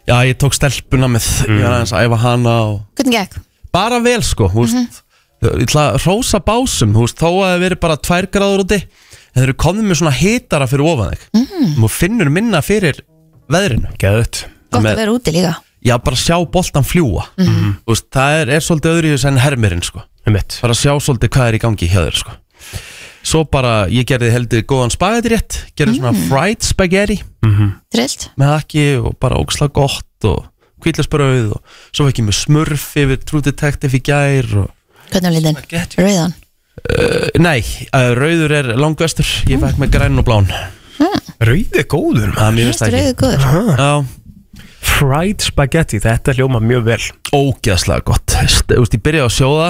Já, ég tók stelpuna með, ég var aðeins að æfa hana og Hvernig gekk? bara vel sko, þú Mhm. veist Ég ætla að rósa básum, þú veist, þó að það veri bara tvær gráður úti En þeir eru komið með svona hitara fyrir ofan þig mm. Og finnur minna fyrir veðrinu Gæðut Gott Með- að vera úti líka Já, bara sjá boltan fljúa Mhm. Þú veist, það er, er svolítið öðru í þess en hermirinn sko Einmitt Bara sjá svolítið hvað er í gangi hjá þér sko Svo bara, ég gerði heldur góðan spagetti rétt Gerði svona fried spaghetti Trillt með haki og bara ógsla gott og kvíðlasbröð og svo var ekki með smurf yfir True Detective í gær og Hvernig var litin? Rauðan Nei, uh, rauður er langvestur Ég fekk með græn og blán Rauði góður maður Það mér finnst Mest það rauðu ekki góður Já, Fried spaghetti, þetta hljóma mjög vel ógeðslega gott Þú veist, ég byrjaði að sjóða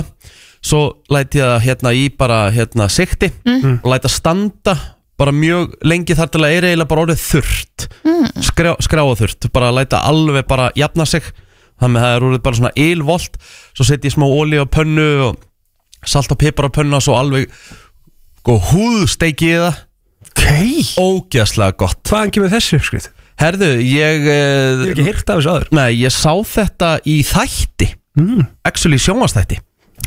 Svo læti ég það hérna í bara hérna sikti mm. Læti að standa bara mjög lengi þar til að er eiginlega bara orðið þurrt mm. Skrá, Skráa þurrt Bara læta alveg bara jafna sig Þannig að það er orðið bara svona ylvolt Svo setji ég smá olíu á pönnu og salt og pipar á pönnu og svo alveg sko, húðsteiki í það Ok Ógeðslega gott Hvaðan kemur þessi uppskrið? Herðu, ég, Ég hef eh, ekki hýrt af þessu aður nei, ég sá þetta í þætti mm. Actually sjónvastætti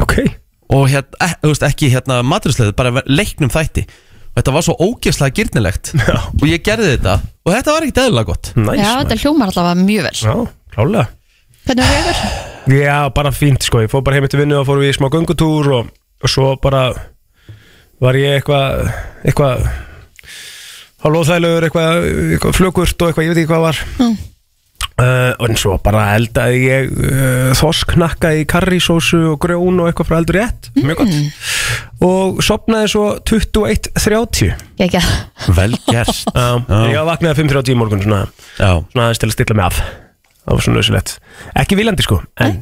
Ok Og hérna, eh, þú veist, ekki hérna maturisleðu Bara ve- leiknum þætti Og þetta var svo ógeðslega gyrnilegt Já. Og ég gerði þetta Og þetta var ekkert eðlilega gott Já, Næs maður. þetta hljómar allavega mjög vel Já, klálega Hvernig var rauður? Já, bara fínt sko, ég fór bara heim eftir vinnu og fór við í smá göngutúr og, og svo bara var ég eitthvað eitthvað hálfóþægilegur, eitthvað, eitthvað flugurt og eitthvað, ég veit ekki hvað var mm. en svo bara eldaði ég uh, þosknakka í karrísósu og grjón og eitthvað frá eldur rétt mjög gott og sopnaði svo 21.30 Ég ekki að Vel gert um, ég vaknaði 5.30 í morgun svona, Já, svona aðeins til að stilla mig af það var svona nöðsilegt, ekki viljandi sko en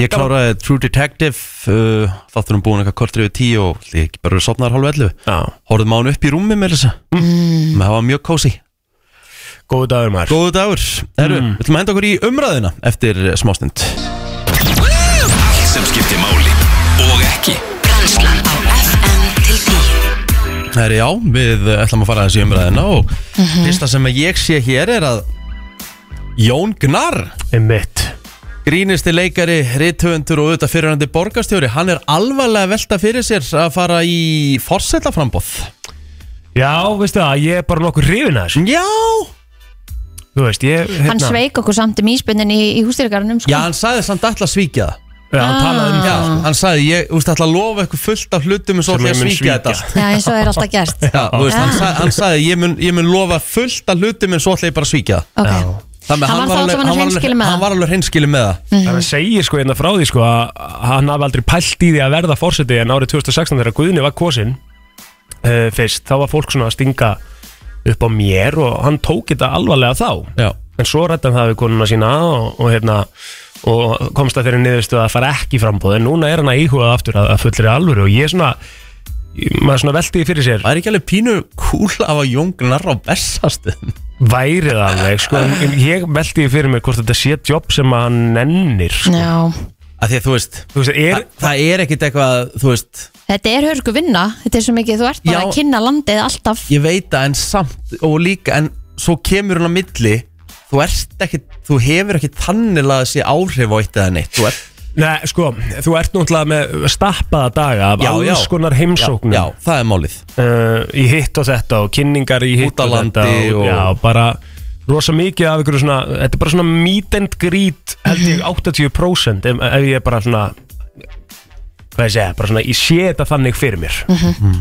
ég kláraði True Detective uh, Þátturum búin eitthvað kortur yfir tíu Og ég bara verið sopnaðar hálf ellu já, Horfðum á hann upp í rúmi með þessa mm. Það var mjög kósi góðu dagur maður Góðu dagur Herru, við ætlum að henda okkur í umræðina Eftir eh, smástund Allt sem skiptir máli og ekki Brennslan á FM til 10 Það er já, við ætlum að fara þessi umræðina og fyrsta sem ég sé hér er að Jón Gnarr, Einmitt grínisti leikari, rithöfundur og auðvitað fyrirhandi borgarstjóri, hann er alvarlega að velta fyrir sér að fara í forsetaframbóð. Já, veistu það, ég er bara nokkur hrifin að þessu Já! Mm. Þú veist, ég hérna, Hann sveik okkur samt um íspennin í, í hústýrgarunum sko. Já, hann sagði samt alltaf að svíkja það. Já, hann talaði um Já, það hann sagði, ég, þú veist, alltaf að lofa eitthvað fullt af hlutum en svo ætla Sem ég ég að mun svíkja svíkja. þetta. allt. Já, eins og er alltaf gert Já, þú veist, hann sagði, hann sagði ég, mun, ég mun lofa fullt af hlutum en svo ætla ég bara að svíkja það. Ok, Já. Þannig að Hann var þá alveg- hann allavega var alveg- hreinskilinn með það. Hann var alveg hreinskilin með það Mm. Það er að segja sko einna frá því sko að hann hafði aldrei pælt í því að verða fórseti en árið 2016 þegar Guðni var kosin uh, fyrst, þá var fólk svona að stinga upp á mér og hann tók þetta alvarlega þá Já, en svo rættan það við konuna sína og, og hérna og komst að þeirri niðurstu að fara ekki í framboð en núna er hann að íhugað aftur að, að fullri alvöru og ég er svona maður svona velti því fyrir sér það er ekki alveg pínu kúl af að jóngnar á bestastuðum væri það alveg sko en en ég velti því fyrir mér hvort þetta sé jobb sem að hann nennir sko. Já, Af því að þú veist, þú veist, er, það, það er ekkit eitthvað, þú veist þetta er hörgu vinna Þetta er svo mikið, þú ert bara Já. að kynna landið alltaf Ég veit að en samt og líka En svo kemur hún á milli Þú ert ekkit, þú hefur ekki tannilega þessi áhrif á eitt eða neitt Þú ert, Nei, sko, þú ert náttúrulega með stappaða daga af Já, já. alls konar heimsóknum já, það er málið Uh, í hitt og þetta og kynningar í hitt Út á og landi þetta og- Já, bara rosa mikið af ykkur svona, þetta er bara svona meet and greet held ég 80% ef, ef ég bara svona hvað ég segja, bara svona ég sé þetta þannig fyrir mér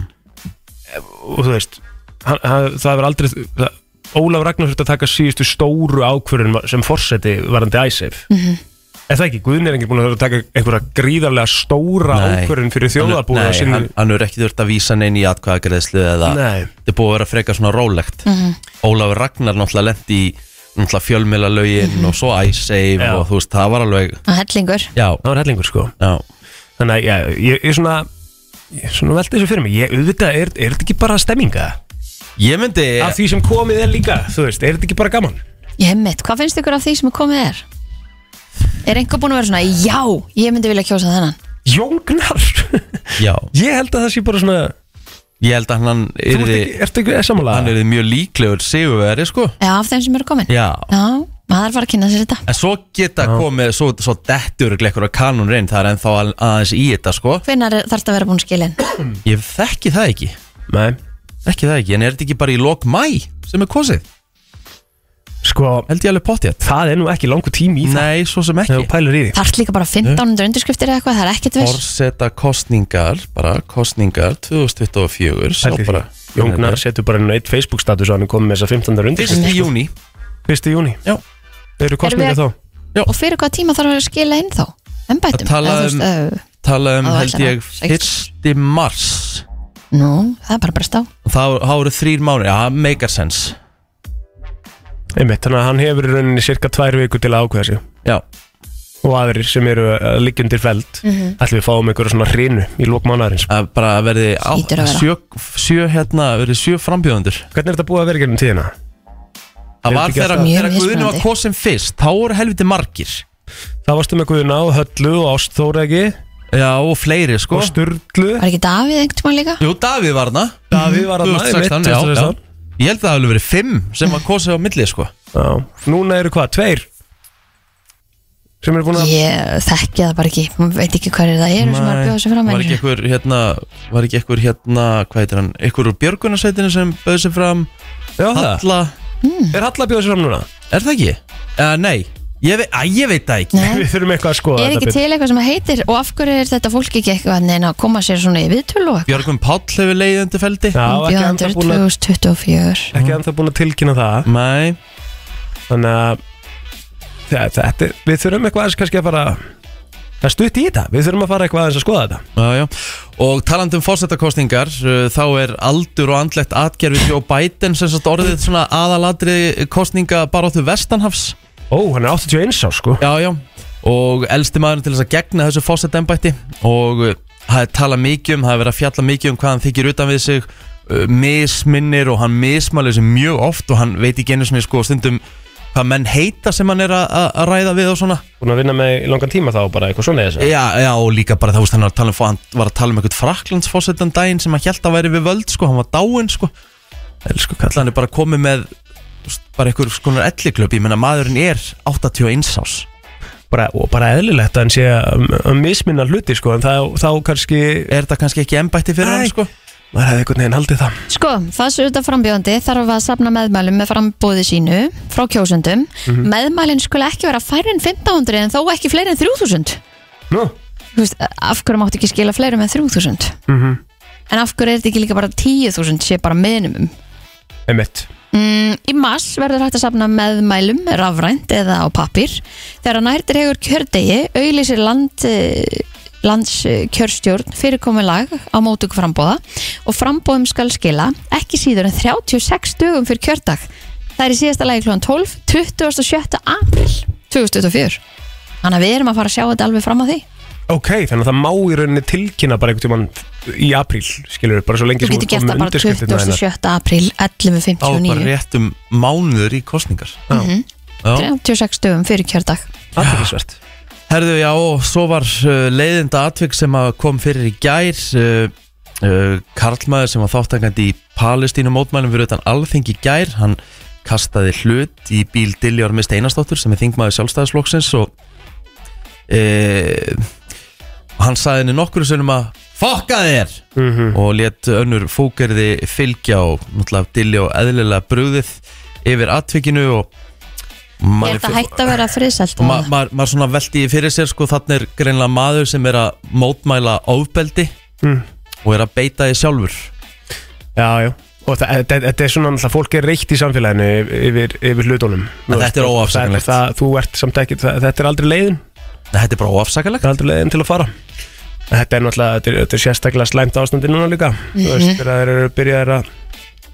og þú veist hann, hann, það hefur aldrei það, Ólaf Ragnar þurfti að taka síðustu stóru ákvörðun sem forseti varandi æsif Er það ekki, Guðni er enginn búin að þurfa að taka einhverja gríðarlega stóra Nei. ákvörðun fyrir þjóðabúið Nei, á sinni- hann, hann er ekki þurft að vísa neinn í atkvæðagreðslu eða Nei. þetta er búið að vera frekar svona rólegt Ólafur Ragnar náttúrulega lendi í náttúrulega fjölmjöla og svo æsseif Já. og þú veist, það var alveg að hellingur Já, Það var hellingur sko já, Þannig að já, ég er svona Ég er svona veldi þessu fyrir mig Ég auðvitað, er, er þetta ekki bara stemminga? ég myndi Af því sem komið er líka, þú veist, er þetta ekki bara gaman? Ég mitt, hvað finnst ykkur af því sem er komið er? Er einhver búin að vera svona Já, ég myndi vilja kjósa þennan Jóngnar Já, Ég held að það sé bara svona ég held að hann Þú ert yrði, ekki, ertu ekki sammála? hann yrði mjög líklegur sigurveri, sko Já, af þeim sem eru komin Já, maður var að kynna sér þetta en svo geta komið svo, svo dettur ekkur að kanun reyn það er ennþá al- aðeins í þetta, sko Hvenær þarf þetta að vera búin skilin? Mm. Ég þekki það ekki, Nei, þekki það ekki en er þetta ekki bara í lok mæ sem er kosið? sko, Held ég alveg pottjætt það er nú ekki langur tími í það Nei, svo sem Þegar þú ekki pælar í því Þarf líka bara 1500 undirskriftir eða eitthvað, það er ekkert viss Forseta kostningar, bara kostningar 2024 sjá Pældi bara- því. Jóngnar setur bara inn á eitt Facebook status og hann er komið með þessa 15. rundir Fyrst í júni 1. júni Já. Þau eru kostningar við- þá Og fyrir hvað tíma þarf að skila inn þá? Embættum? Að tala um- um Tala um Á, held ætlar ég það. Sex. 1. mars Nú, það er bara bara stá Og Það þá eru þrýr mánu, já, það meikar sens Einmitt, þannig að hann hefur í rauninni cirka tvær viku til að ákveða sig Já, og aðrir sem eru að liggja undir feld Mhm. ætlum við fáum einhverja svona hrinu í lók mánuðarins. það er bara að verði á, Hlýtur að vera. sjö, sjö, hérna, verði sjö frambjóðundur Hvernig er þetta búið að vera gennum tíðina? Það Þetta var ekki þegar alltaf- Mjög þegar Guðinu var mismunandi. kosin fyrst Þá voru helviti margir Það varstu með Guðuna og Höllu og Ástþóregi Já, og fleiri, sko og Sturlu Var ekki Davíð einhvern tíma líka? Jú, Davíð var hana Davíð var þarna, einmitt, 2016, já, já 2016. Ég held að það hefur verið fimm sem var kosið á milli, sko Já. Núna eru hvað, tveir? Sem eru búin að Ég þekki það bara ekki, maður veit ekki hverju það eru sem var að bjóða sig fram var ekki einhver hérna var ekki einhver hérna, hvað heitir hann einhver úr björgunarsveitinu sem bauð sér fram Já, það. Halla, Er Halla að bjóða sér fram núna? er það ekki? Uh, nei, ég, ve að, ég veit það ekki Nei. Við þurfum eitthvað að skoða Er ekki til eitthvað sem að heitir og af hverju er þetta fólk ekki eitthvað neina að koma sér svona í viðtölu og eitthvað? Björgun Páll hefur leiðið undir feldi Já, ekki ennþá Bjóðandur búin að, 2024 ekki ennþá búin að tilkynna það Nei, Þannig að þe- þetta, er- við þurfum eitthvað aðeins kannski að fara að stutt í þetta Við þurfum að fara eitthvað aðeins að skoða þetta já, já Og talandi um fórsetakostingar uh, þá er aldur og andlegt atgerfi Joe Biden sem sagt orðið svona aðaladri kostninga bara á þau vestanhafs Ó, hann er 81 á sko Já, já Og elsti maðurinn til þess að gegna þessu fórsetembætti Og uh, það er talað mikið um, það er verið að fjalla mikið um hvað hann þykir utan við sig uh, Misminnir og hann mismælir sig mjög oft Og hann veit ekki einu sinni sko stundum hvað menn heita sem hann er að- að að ræða við og svona Búin að vinna með í langan tíma þá bara eitthvað svona þessu Já, já, og líka bara þá veist hann var að tala um, hann var að tala um eitthvað fraklandsfósettan daginn sem hann held að væri við völd, sko, hann var dáinn, sko Elsku kall, hann er bara komið með þú veist, bara einhver skonar elliklöp, ég menna maðurinn er 81 ás bara, og bara eðlilegt að hann sé að að misminna hluti sko en þá, þá kannski Er þetta kannski ekki embætti fyrir Nei. hann, sko? maður hefði einhvern veginn haldið það Sko, það sem þetta frambjóðandi þarf að safna meðmælum með frambóði sínu frá kjósundum. Meðmælin skulle ekki vera færri en 1500 en þó ekki fleiri en 3000. Nú, Þú veist, af hverju máttu ekki skila fleirum en 3000? Mhm. En af hverju er þetta ekki líka bara 10.000 sé bara minimum? einmitt Mm, Í mass verður hægt að safna meðmælum, rafrænt eða á pappir. Þegar nærtir hefur kjördegi, auðlýsir land, eh, landskjörstjórn fyrirkomulag á mótugu frambóða og frambóðum skal skila ekki síður en 36 dögum fyrir kjördag. Það er í síðasta lagi klúan 12, 26. april 2024. Þannig að við erum að fara að sjá þetta alveg fram að því. Ok, þannig að það má í rauninni tilkynna bara einhvern tímann í apríl, skilur bara svo lengi Þú getur ert gert komin það með bara undirskriftirnar þínar. 27. april hérna, Þá er bara 11.59. rétt um mánuður í kostningar Já. Mhm, 36 dögum fyrir kjördag. Athyglisvert. Herðu, já, og svo var uh, leiðinda atvik sem að kom fyrir í gær uh, uh, Karlmaður sem var þáttangandi í Palestínu mótmælum fyrir utan alþingi í gær hann kastaði hlut í bíl Dilljár með Steinarsdóttur sem er þingmaður sjálfstæðisflokksins og uh, hann sagði henni nokkur sem að fokka þér Mhm. og let önnur fókerði fylgja og náttúrulega Dilljá eðlilega brúðið yfir atvikinu og Er þetta hægt að vera friðsælt? og Ah. ma ma- maður svona veldi í fyrir sér sko þannig er greinlega maður sem er að mótmæla ofbeldi Mm. og er að beita því sjálfur Já, já. Og það- þetta þetta er svona alltaf fólk er reykt í samfélaginu yfir, yfir, yfir hlutunum. En þetta er óafsakanlegt. Það- það- Þú ert samt ekki, það- þetta er aldrei leiðin. Nei, þetta er bara óafsakalegt Það er aldrei leiðin til að fara. En Þetta er náttúrulega, þetta er, þetta er sérstaklega slæmt ástandi núna líka. Þú veist, þegar þeir eru byrjaðar að,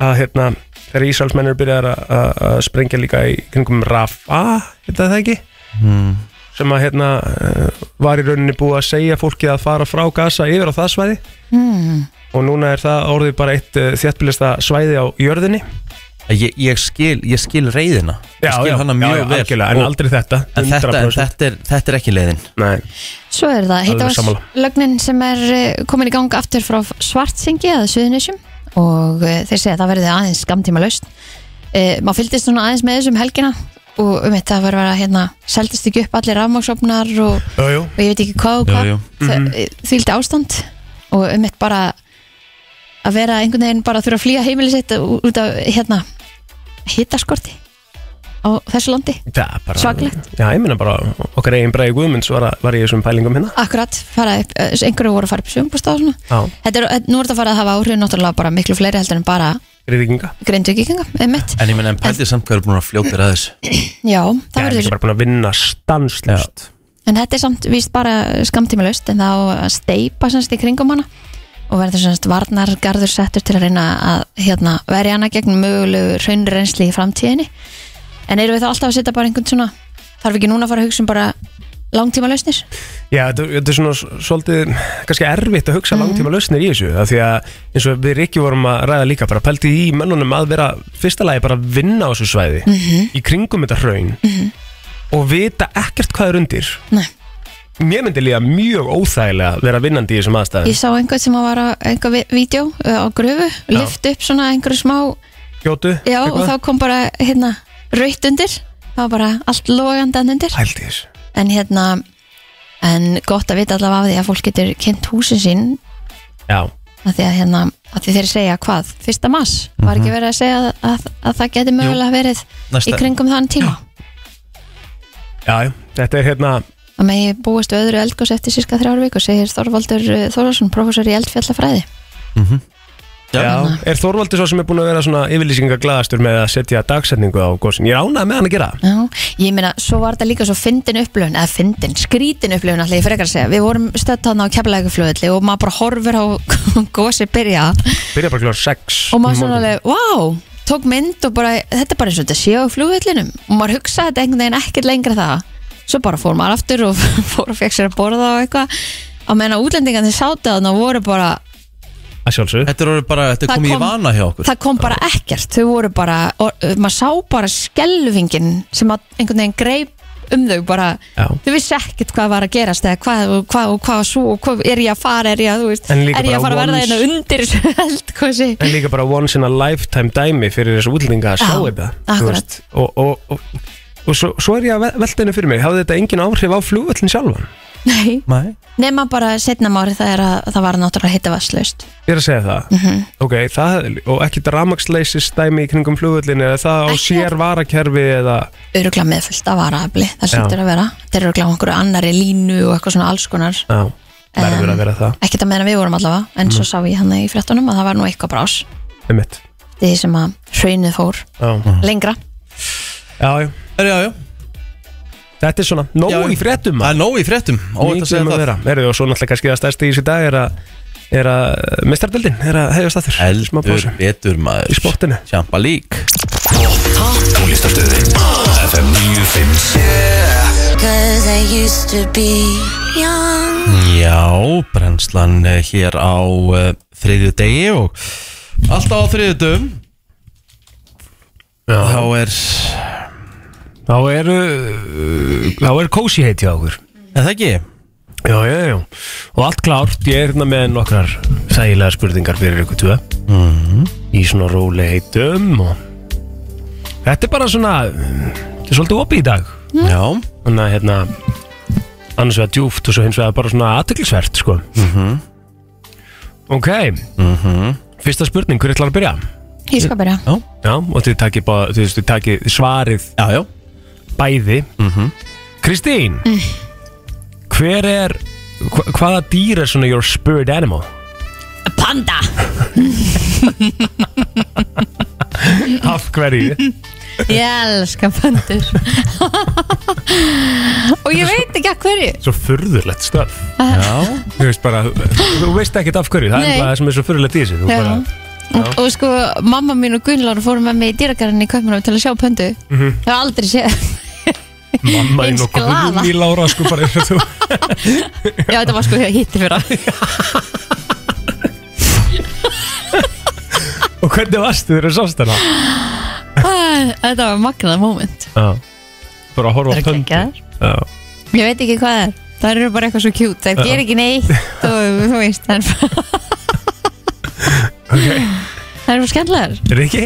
að hérna, þegar Ísraelsmenn eru byrjaðar að, að, að sprengja líka í kringum Rafa, heita það ekki? Hmm. sem að hérna eh, var í rauninni búið að segja fólki að fara frá Gaza yfir á það svæði og núna er það orðið bara eitt uh, þjættbílista svæði á jörðinni ég, ég, skil, ég skil reyðina ég skil hana mjög já, vel algjörlega, en og, aldrei þetta en, þetta, en 100%. þetta, er, þetta er ekki leiðin Nei, Svo er það sammála. heitavarslögnin sem er eh, komin í gang aftur frá Svartsengi eða Suðunisjum og eh, þeir segja að það verði aðeins skamtíma laust. E, maður fylgdist svona aðeins með þessum helgina og um þetta var að vera hérna, seldist ekki upp allir rafmaksopnar og, jú, jú. og ég veit ekki hvað og hvað. Jú, jú. Þa- Þvíldi ástand og um þetta bara að vera einhvern veginn bara að þurfa að flýja heimili sitt út af hérna hittaskorti á þessu landi. Það er bara- Svakalegt. Já, ég minna bara okkar eigin bræði Guðmunds var, að- var í þessum pælingum hérna Akkurat, fara upp, eh, einhverju voru að fara upp sjöfumbústað og svona. Já, Þetta er, nú er þetta að fara að hafa áhrif náttúrulega bara miklu fleiri heldur en bara greiðinga greindugikinga, einmitt. en ég menn en pældi samt hvað er búin að fljóta að þessu Já, Já, það ég er verður, bara búin að vinna stanslust en þetta er samt víst bara skamtímalaust en það á að steipa semst í kringum hana og verður semst varnargarður settur til að reyna að hérna, verja hana gegn mögulegu raunrensli í framtíðinni. En erum við þá alltaf að setja bara einhvern svona, þarf ekki núna að fara að hugsa um bara langtímalausnir? Já, þetta, þetta er svona s- svolítið kannski erfitt að Mhm. hugsa langtíma lausnir í þessu af því að eins og við Rikki vorum að ræða líka bara pæltið í mönnunum að vera fyrsta lagi bara að vinna á þessu svæði Mhm. í kringum þetta hraun og vita ekkert hvað er undir Nei. Mér myndi líða mjög óþægilega að vera vinnandi í þessum aðstæðum Ég sá einhvern sem var á einhver vídeo á gröfu, lift upp svona einhverju smá Gjótu, Já, og þá kom bara hérna raut undir, það var bara allt logandi hann undir, Pældi í þessu en hérna en gott að vita allavega af því að fólk getur kynnt húsin sín Já, að því að hérna, að því þeir segja hvað fyrsta mass, var ekki verið að segja að, að, að það geti mögulega verið í næsta, kringum þann tíma, já, já, þetta er hérna að megi búist við öðru eldgós eftir síska þrjár viku, segir Þorvaldur eh, Þórðarsson, professor í eldfjallafræði Já. Já, er Þorvaldur svo sem er búin að vera svona yfirlýsingaglaðastur með að setja dagsetningu á gósin Ég er ánað með hann að gera það Já, ég meina, svo var þetta líka svo fyndin upplöfun, eða fyndin, skrítin upplöfun allir, ég frekar að segja, við vorum stödd hann á keflækuflöðli og maður bara horfir á gósi byrja Byrja bara um kljóðar 6 og maður svona alveg, vá, tók mynd og bara, þetta er bara eins og þetta sé á flugvöllinum og maður hugsaði þetta einhvern veginn ekkert lengra það svo bara fór maður aftur og fór og fekk sér að borða og eitthvað á meðan að útlendingan þeir sátu að og voru bara Að sjálfsög þetta er orðið bara þetta er Það komið kom- í vana hjá okkur það kom bara ekkert, þau voru bara og, uh, maður sá bara skelvingin sem að einhvern veginn greip um þau bara, Já. þau vissi ekkert hvað var að gerast eða hvað og hvað og hvað svo og hvað er ég að fara, er ég að, þú veist En er líka ég að fara bara að verða once- hérna undir þessu eldkosi En líka bara once in a lifetime dæmi fyrir þessu útlendinga að sjá Já, þetta þú akkurat. veist. Og, og, og, og svo, svo er ég að velta henni fyrir mig Hafði þetta engin áhrif á flugvöllin sjálfan? Nei. Nei. nema bara setna mári það er að það var náttúrulega hitta vasslaust Ég er að segja það Mhm. Ok, það, og ekki dramaksleysis dæmi í kringum flugvöllin Eða það á Ekki. sér varakerfi eða örugla með fullt af varaafli, það sýttur að vera þetta er örugla á einhverju annari línu og eitthvað svona alls konar Já, verður Em, að vera það Mm. ekkert að meðan við vorum allavega en svo sá ég hann í fréttunum að það var nú eitthvað brás Einmitt. eftir því sem að hraunuð fór já, lengra já, já. Herri, já, já, Þetta er svona nóg Já, já. í fréttum um það er nóg í fréttum Óvænt að segja það Erðu og svo náttúrulega kannski það stærsti í þessu dag er að er að mistardildin er að hefja staður smá Eldur pásu betur maður Í sportinu. Champa lík Tónlistarstöðin FM 957 Cause I used to be young Já, brennslan eh, hér á uh, þriðju degi og alltaf á þriðju dögum Þá er, Þá er uh, þá er kósi heiti á okkur er það ekki? Já, já, já Og allt klárt, ég er hérna með nokkrar þægilega spurningar fyrir ykkur tvö Mhm. Í svona róli heitum og Þetta er bara svona eh, Þetta er svolítið opið í dag Já, Þannig að hérna Annars vegar djúft og svo hins vegar bara svona aðteklisvert sko Ok Fyrsta spurning, hver ætlar að byrja? Ég skal byrja Já, og þið takið, bara, þið, þið takið svarið já, já bæði Kristín Hver er hva, Hvaða dýr er svona your spirit animal? Panda! Af hverju? Ég elska pandur Og ég veit ekki að hverju svo furðurlegt stöf Já, Þú veist bara, þú veist ekkert af hverju Það er Nei. bara það sem er svo furðurlegt í þessu Þú Já. bara, og, og sko, mamma mín og Gunnlar fórum með mig í dýragarinn í Kaupmanum til að sjá pöndu mm Mhm. -hmm. Það var aldrei séð mamma þín Eins og glaða. Guðný Lára sko bara þú, Já, þetta var sko hitti fyrir á Og hvernig varstu þegar þú sást hana? Ah, Þetta var magnað moment Já. Bara að horfa á Þetta er pöndu geggjað. Já. Ég veit ekki hvað það er Það eru bara eitthvað svo kjút Það ger ekki neitt og þú veist Það er bara Ok. Það eru bara skemmlegar Riki?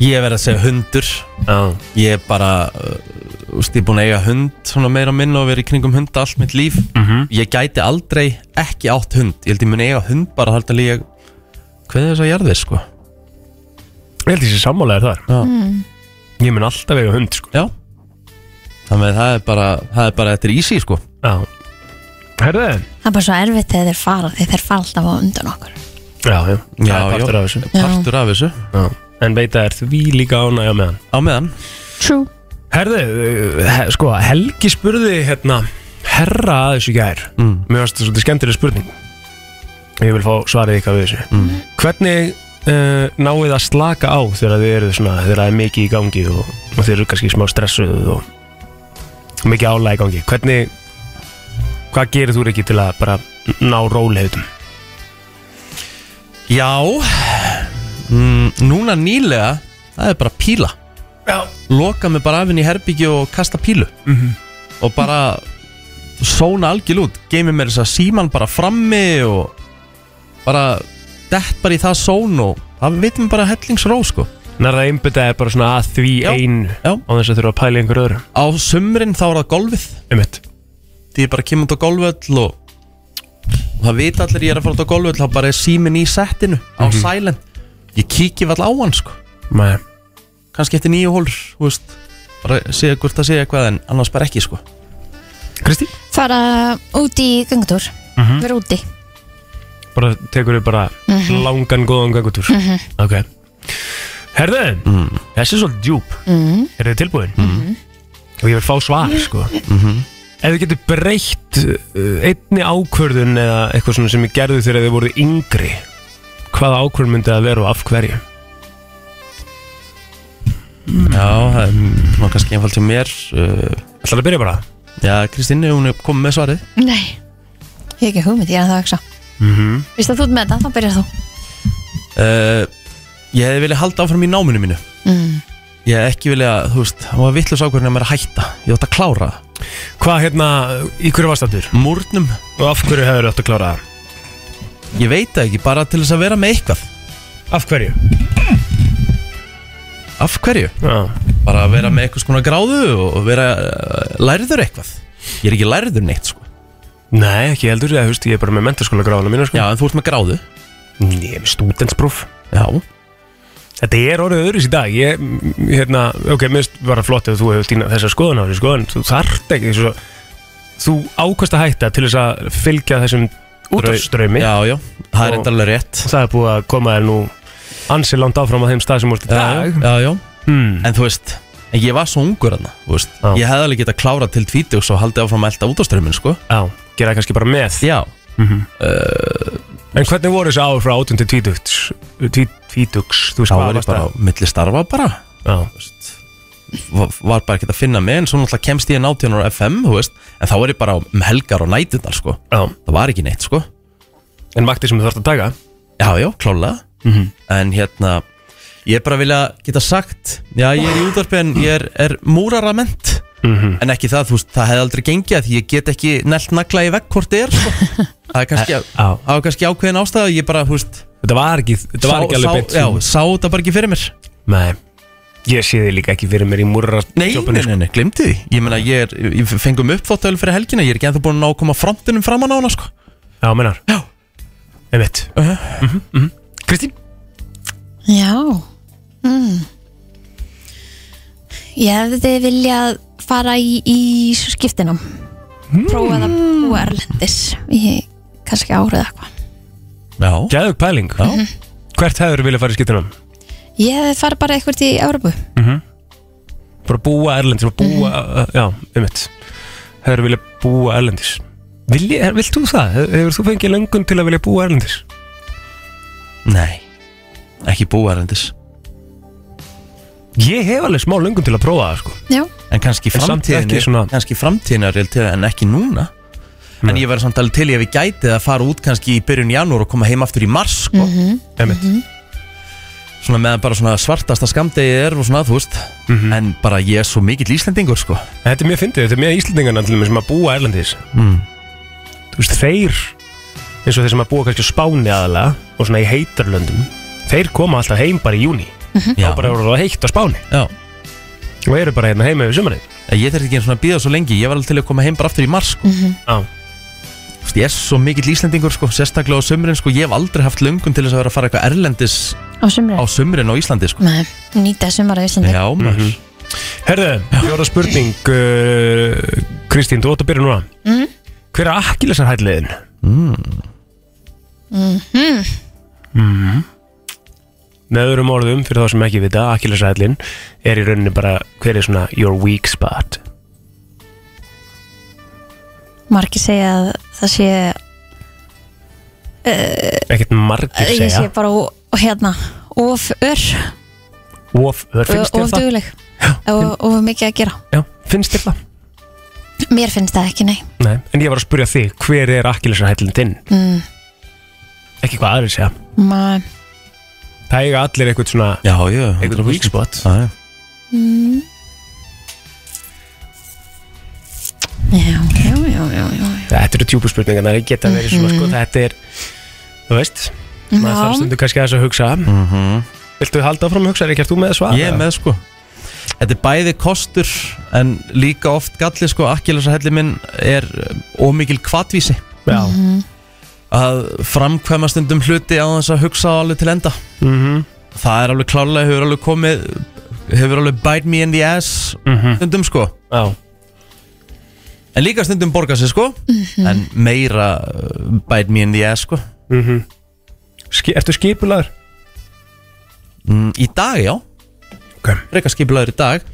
ég verð að segja hundur Já. Ég er bara, uh, úst, ég er búin að eiga hund svona meira minn og verið í kringum hund allt mitt líf Mhm. Ég gæti aldrei ekki átt hund Ég held ég muni eiga hund bara þar til ég Hvað er þess að jarðið sko? Ég held ég sé sammálaður þar Já. Ég mun alltaf eiga hund sko Já Þannig að það er bara, það er bara eftir ísi sko Já. Herðu? Það er bara svo erfitt þegar þeir fara Þegar þeir fara alltaf á undan okkur Já, já, Já, Það er já. partur af þessu Partur af þessu Já. En veit að er því líka ánægja með hann Á meðan True Herðu, uh, he, sko, Helgi spurði hérna herra að þessu gær Mm. Mér varst þetta svolítið skemmtileg spurning Ég vil fá svarið ykkar við þessu Mm. Hvernig uh, náið að slaka á þegar þið eru svona, þegar það er mikið í gangi og, og þið eru kannski smá stressuð og, og mikið álæg í gangi Hvernig, hvað gerir þú ekki til að bara ná róleitum? Já mm, Núna nýlega Það er bara píla Já Loka mig bara af inn í herbyggi og kasta pílu -hmm. Og bara Sóna algjörl út Geimi mér þess að síman bara frammi Og bara Dett bara í það són og Það veitum bara hellingsró sko Nær það einbytta er bara svona að því Já. einu Já. á þess að þurfa að pæla í einhverju öðru Á sumrin þá er það golfið Einmitt því ég bara kemur út á golföll og, og það vita allir ég er að fara út á golföll þá bara er símin í settinu á silent ég kíki vall á hann sko Nei kannski eftir nýju hólur þú veist, bara segja hvort að segja eitthvað en annars bara ekki sko Kristín? Fara út í göngutúr Mhm. Vera úti bara tekur við bara langan góðan gangutúr ok herðu, þessi er svolítið djúb Mhm. er þið tilbúin og ég vil fá svar sko ef þið getur breytt uh, einni ákvörðun eða eitthvað svona sem ég gerði þegar þið voru yngri hvaða ákvörðun myndi það vera og af hverju já, það er svona kannski einfalt hjá mér uh, ætlar að byrja bara já, Kristín, hún er komið með svarið Nei Ég hef ekki hugmynd, ég er að það að hugsa Mhm. Vist að þú ert með þetta, þá byrjar þú uh, ég hefði viljað halda áfram í náminu mínu Mm. ég hef ekki viljað, þú veist, hún var vittlust ákvörðin að mér að hætta ég átt að klára það. hvað hérna, í hverju varstættur múrnum, og af hverju hefur þið átt að klára það ég veit það ekki, bara til þess að vera með eitthvað af hverju af hverju? já, bara að vera með eitthvað skona gráðu og vera uh, lærður eitthvað ég er ekki lærður neitt sko nei, ekki heldur ég, veist, ég er bara með mentaskóla gráðuna mínu sko. já en þú ert með gráðu ég er með stúdenspróf já Þetta er orðið öðruðs í dag ég, m- hérna, ok, minnst bara flott ef þú hefur týna þessa skoðun á þessu skoðun þú þarft ekki svo, þú ákvæmst að hætta til þess að fylgja þessum útdraumi já já það Og- er enda alveg rétt það er búið að koma þér nú ansi langt áfram á þeim stað sem úrst í dag já, já. Hmm. En þú veist, en ég var svo ungur hann Já. Ég hefði alveg getað klárað til tvítugs og haldið áfram að elda út á strömmin sko. Já, gera það kannski bara með Já, En hvernig voru þessi ár frá 18 til 20 Tvítugs, þú veist þá hvað Sko, var ég varst bara það á milli starfa bara Já, var, var bara ekkert að finna mig en svo náttúrulega kemst ég náttíðan á FM þú veist, en þá var ég bara um helgar og nætundar sko. já það var ekki neitt sko. En vakti sem þú þarft að taka já, já, klálega en hérna, ég bara vilja geta sagt, já, ég er í útvarpi en ég er, er múraramend Mhm. en ekki það, þú veist, það hefði aldrei gengið að því ég get ekki nelt nagla í vegg hvort þið er sko. það er kannski, Já. það var kannski ákveðin ástæða ég bara, þú veist, Þetta var ekki, þetta var ekki alveg beint já, sá þetta bara ekki fyrir mér Nei, ég sé þig líka ekki fyrir mér í múrara Nei, nei, nei, nei, glemdi því Ég meina, ég, er, ég fengum uppþóttölu fyrir helgina Ég er ekki ennþá búin að ná að koma frontinum framan á hana sko. Já, mennar Já. Einmitt Mhm, Kristín Já mm. Ég hefði viljað fara í, í skiptinum mm. Prófað að búa erlendis Í kannski árið eitthvað Já, Gæðug pæling Já Hvert hefur viljað fara í skiptunum? Ég hefði farið bara eitthvað í Európu Bara búa erlendis bara búa, uh, Já, einmitt Hefur viljað búa erlendis Vilji, er- Vilt þú það? Hefur- Hefur þú fengið löngun til að vilja búa erlendis? nei Ekki búarendis Ég hef alveg smá löngun til að prófa það sko Já, En kannski En samt framtíðinu ekki svona- Kannski framtíðinu er reelt til En ekki núna En ég verði samt alveg til ég við gætið að fara út kannski í byrjun janúar og koma heim aftur í mars sko. Einmitt Svona meðan bara svona svartasta skamdegi er og svona þú veist Mhm. En bara ég er svo mikill Íslendingur sko. Þetta er mjög fyndið, þetta er mjög Íslendingarna til þeim sem að búa erlendis Þú veist, þeir eins og þeir sem að búa kannski á Spáni aðalega og svona í heitarlöndum þeir koma alltaf heim bara í júni Já, og Mhm. bara eru það heitt á Spáni já og eru bara hérna heima yfir sumarið Ég þarf ekki einu svona að býða svo lengi Ég var alveg til að koma heim bara aftur í mars Mhm. sko. Já, Þú veist, ég er svo mikill Íslendingur sko, sérstaklega á sömurinn sko, ég hef aldrei haft löngun til þess að vera að fara eitthvað erlendis á sumri á sömurinn á Íslandi sko. Nei, nýta sumar á Íslandi Já, Mhm. maður. Herðu, fjóra spurning uh, Kristín, þú átt að byrja núna mm. Mm-hmm. Hver er akkilesar hætliðin? Mm. Mm-hmm. Mm Mm-hmm. Með öðrum orðum, fyrir þá sem ekki vita akkilesar hætlin er í rauninni bara hver er svona your weak spot Margir segja að það sé Ekkert margir Ég sé segja bara ó- hérna Of ör, Of, það finnst of þér það? dugleg Og of mikið að gera Já, finnst þér það? Mér finnst það ekki, nei Nei, en ég var að spurja þig, hver er akkilesar hætlin þinn? Mm. Ekki hvað aðrir segja Ma, Það eiga allir eitthvað svona já, já eitthvað weak spot Já, já. Já, já, já, já, já, já. Þetta eru tjúpuspurningar, það geta verið svona sko, þetta er, þú veist, maður Já. þarf stundu kannski aðeins að hugsa. Viltu halda áfram að hugsa, er ekki þú með að svara? Mhm. Ég er með sko Þetta er bæði kostur en líka oft galli sko Akkilesarhelli minn er eh, ómikil kvatvísi Já, að framkvæma stundum hluti á þess að hugsa alveg til enda Mhm. Það er alveg klálega, hefur alveg komið hefur alveg bite me in the ass stundum sko mhm. já, En líka stundum borga sig sko En meira uh, bite me in the ass sko Ski, ertu skipulaður? mm, Í dag já Ok. Frekar skipulaður í dag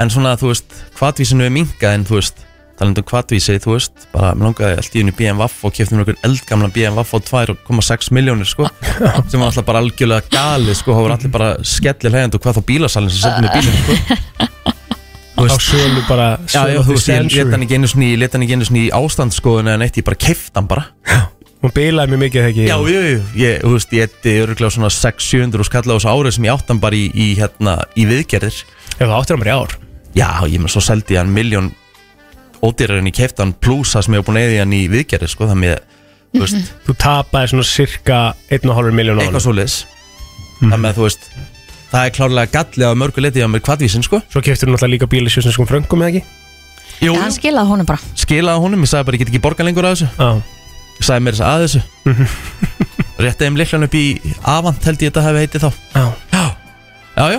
En svona þú veist Hvatvísinu er minga en þú veist Talandum hvatvísi þú veist Bara mér langaði allt í unni BMW Og keftum einhvern eldgamlan BMW á 2,6 miljónir sko Sem var alltaf bara algjörlega gali sko Það voru allir bara skellir hlægjandi Og hvað þá bílasalinn sem settum við bílinn sko Þú Á sölu bara, Já, sölu já, þú veist, ég leta hann dispensary. ekki einu sinni, ég leta hann ekki einu sinni í ástandskoðun eða neitt, ég bara keifti hann bara. Hún bilaði mjög mikið þegar ekki. Já, jú, jú, ég, þú veist, ég etti öruglega svona 600-700 og skalla á þessu árið sem ég átti hann bara í, í, hérna, í viðgerðir. Ef það áttir hann bara í ár. Já, ég með svo seldi ég hann miljón ódýrar en ég keifti hann pluss það sem ég var búin að eða hann í viðgerðir, sko, þannig að, þú veist, Þú tapaði svona cirka 1,5 miljón á hann. eitthvað svo leis. Þannig að, þú veist, það er klárlega gallið á mörgu leti á mér kvadvísin, sko. Svo keftur hún alltaf líka bíl í sjösneskum fröngum eða ekki? Jú, Hann skilaði honum bara skilaði honum, ég sagði bara, ég get ekki borga lengur af þessu. Já. Ég sagði mér þess að þessu Rétti þeim leiklan upp í Avant held ég þetta hefði heitið þá Já. Já, já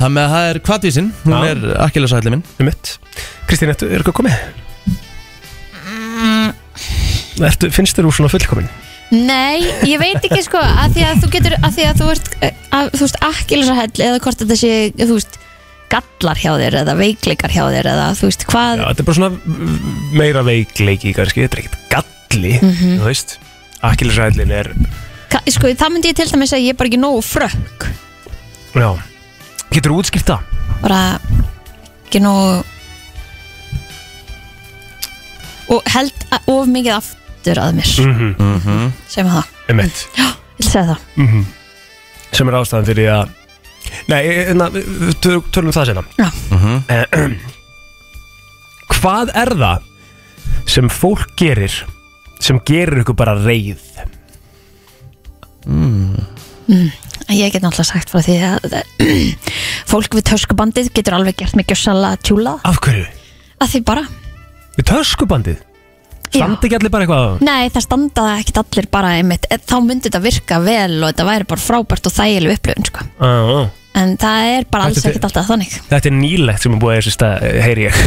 Það með að það er kvatvísin, hún Já. er akkilesæðli minn Um mitt. Kristín, ertu, er eitthvað komið? Ertu, finnst þér úr svona fullkomin? Nei, ég veit ekki sko að því að þú getur, að því að þú ert eh, að, þú veist, akkilsarhæll eða hvort þetta sé, þú veist, gallar hjá þér eða veikleikar hjá þér eða þú veist, hvað, Já, þetta er bara svona mm, meira veikleiki kannski, þetta er ekkert galli, þú veist. Akkilisræðlin er, ka, sko, það myndi ég til dæmis að ég er bara ekki nógu frökk, já, getur útskýrt það? bara ekki nógu og held a- of mikið aftur að mér, mm. Mhm. sem það, Um eitt, ég vil segja það, sem er ástæðan fyrir að, nei, e, na, við við töl- tölum það senna. já, Hvað er það sem fólk gerir, sem gerir ykkur bara reyð? Ég get náttúrulega sagt frá því að eh, fólk við töskubandið getur alveg gert mig gjössalega tjúla Af hverju? að því bara Við töskubandið? Standi ekki allir bara eitthvað á það? Nei, það standa ekkit allir bara einmitt Eh, þá myndi þetta virka vel og þetta væri bara frábært og þægileg upplöfun sko. Á, á. en það er bara alls Þetta er- ekkit alltaf þannig Ah, Þetta er nýlegt sem er búið að þessu stað, eh, heyri ég.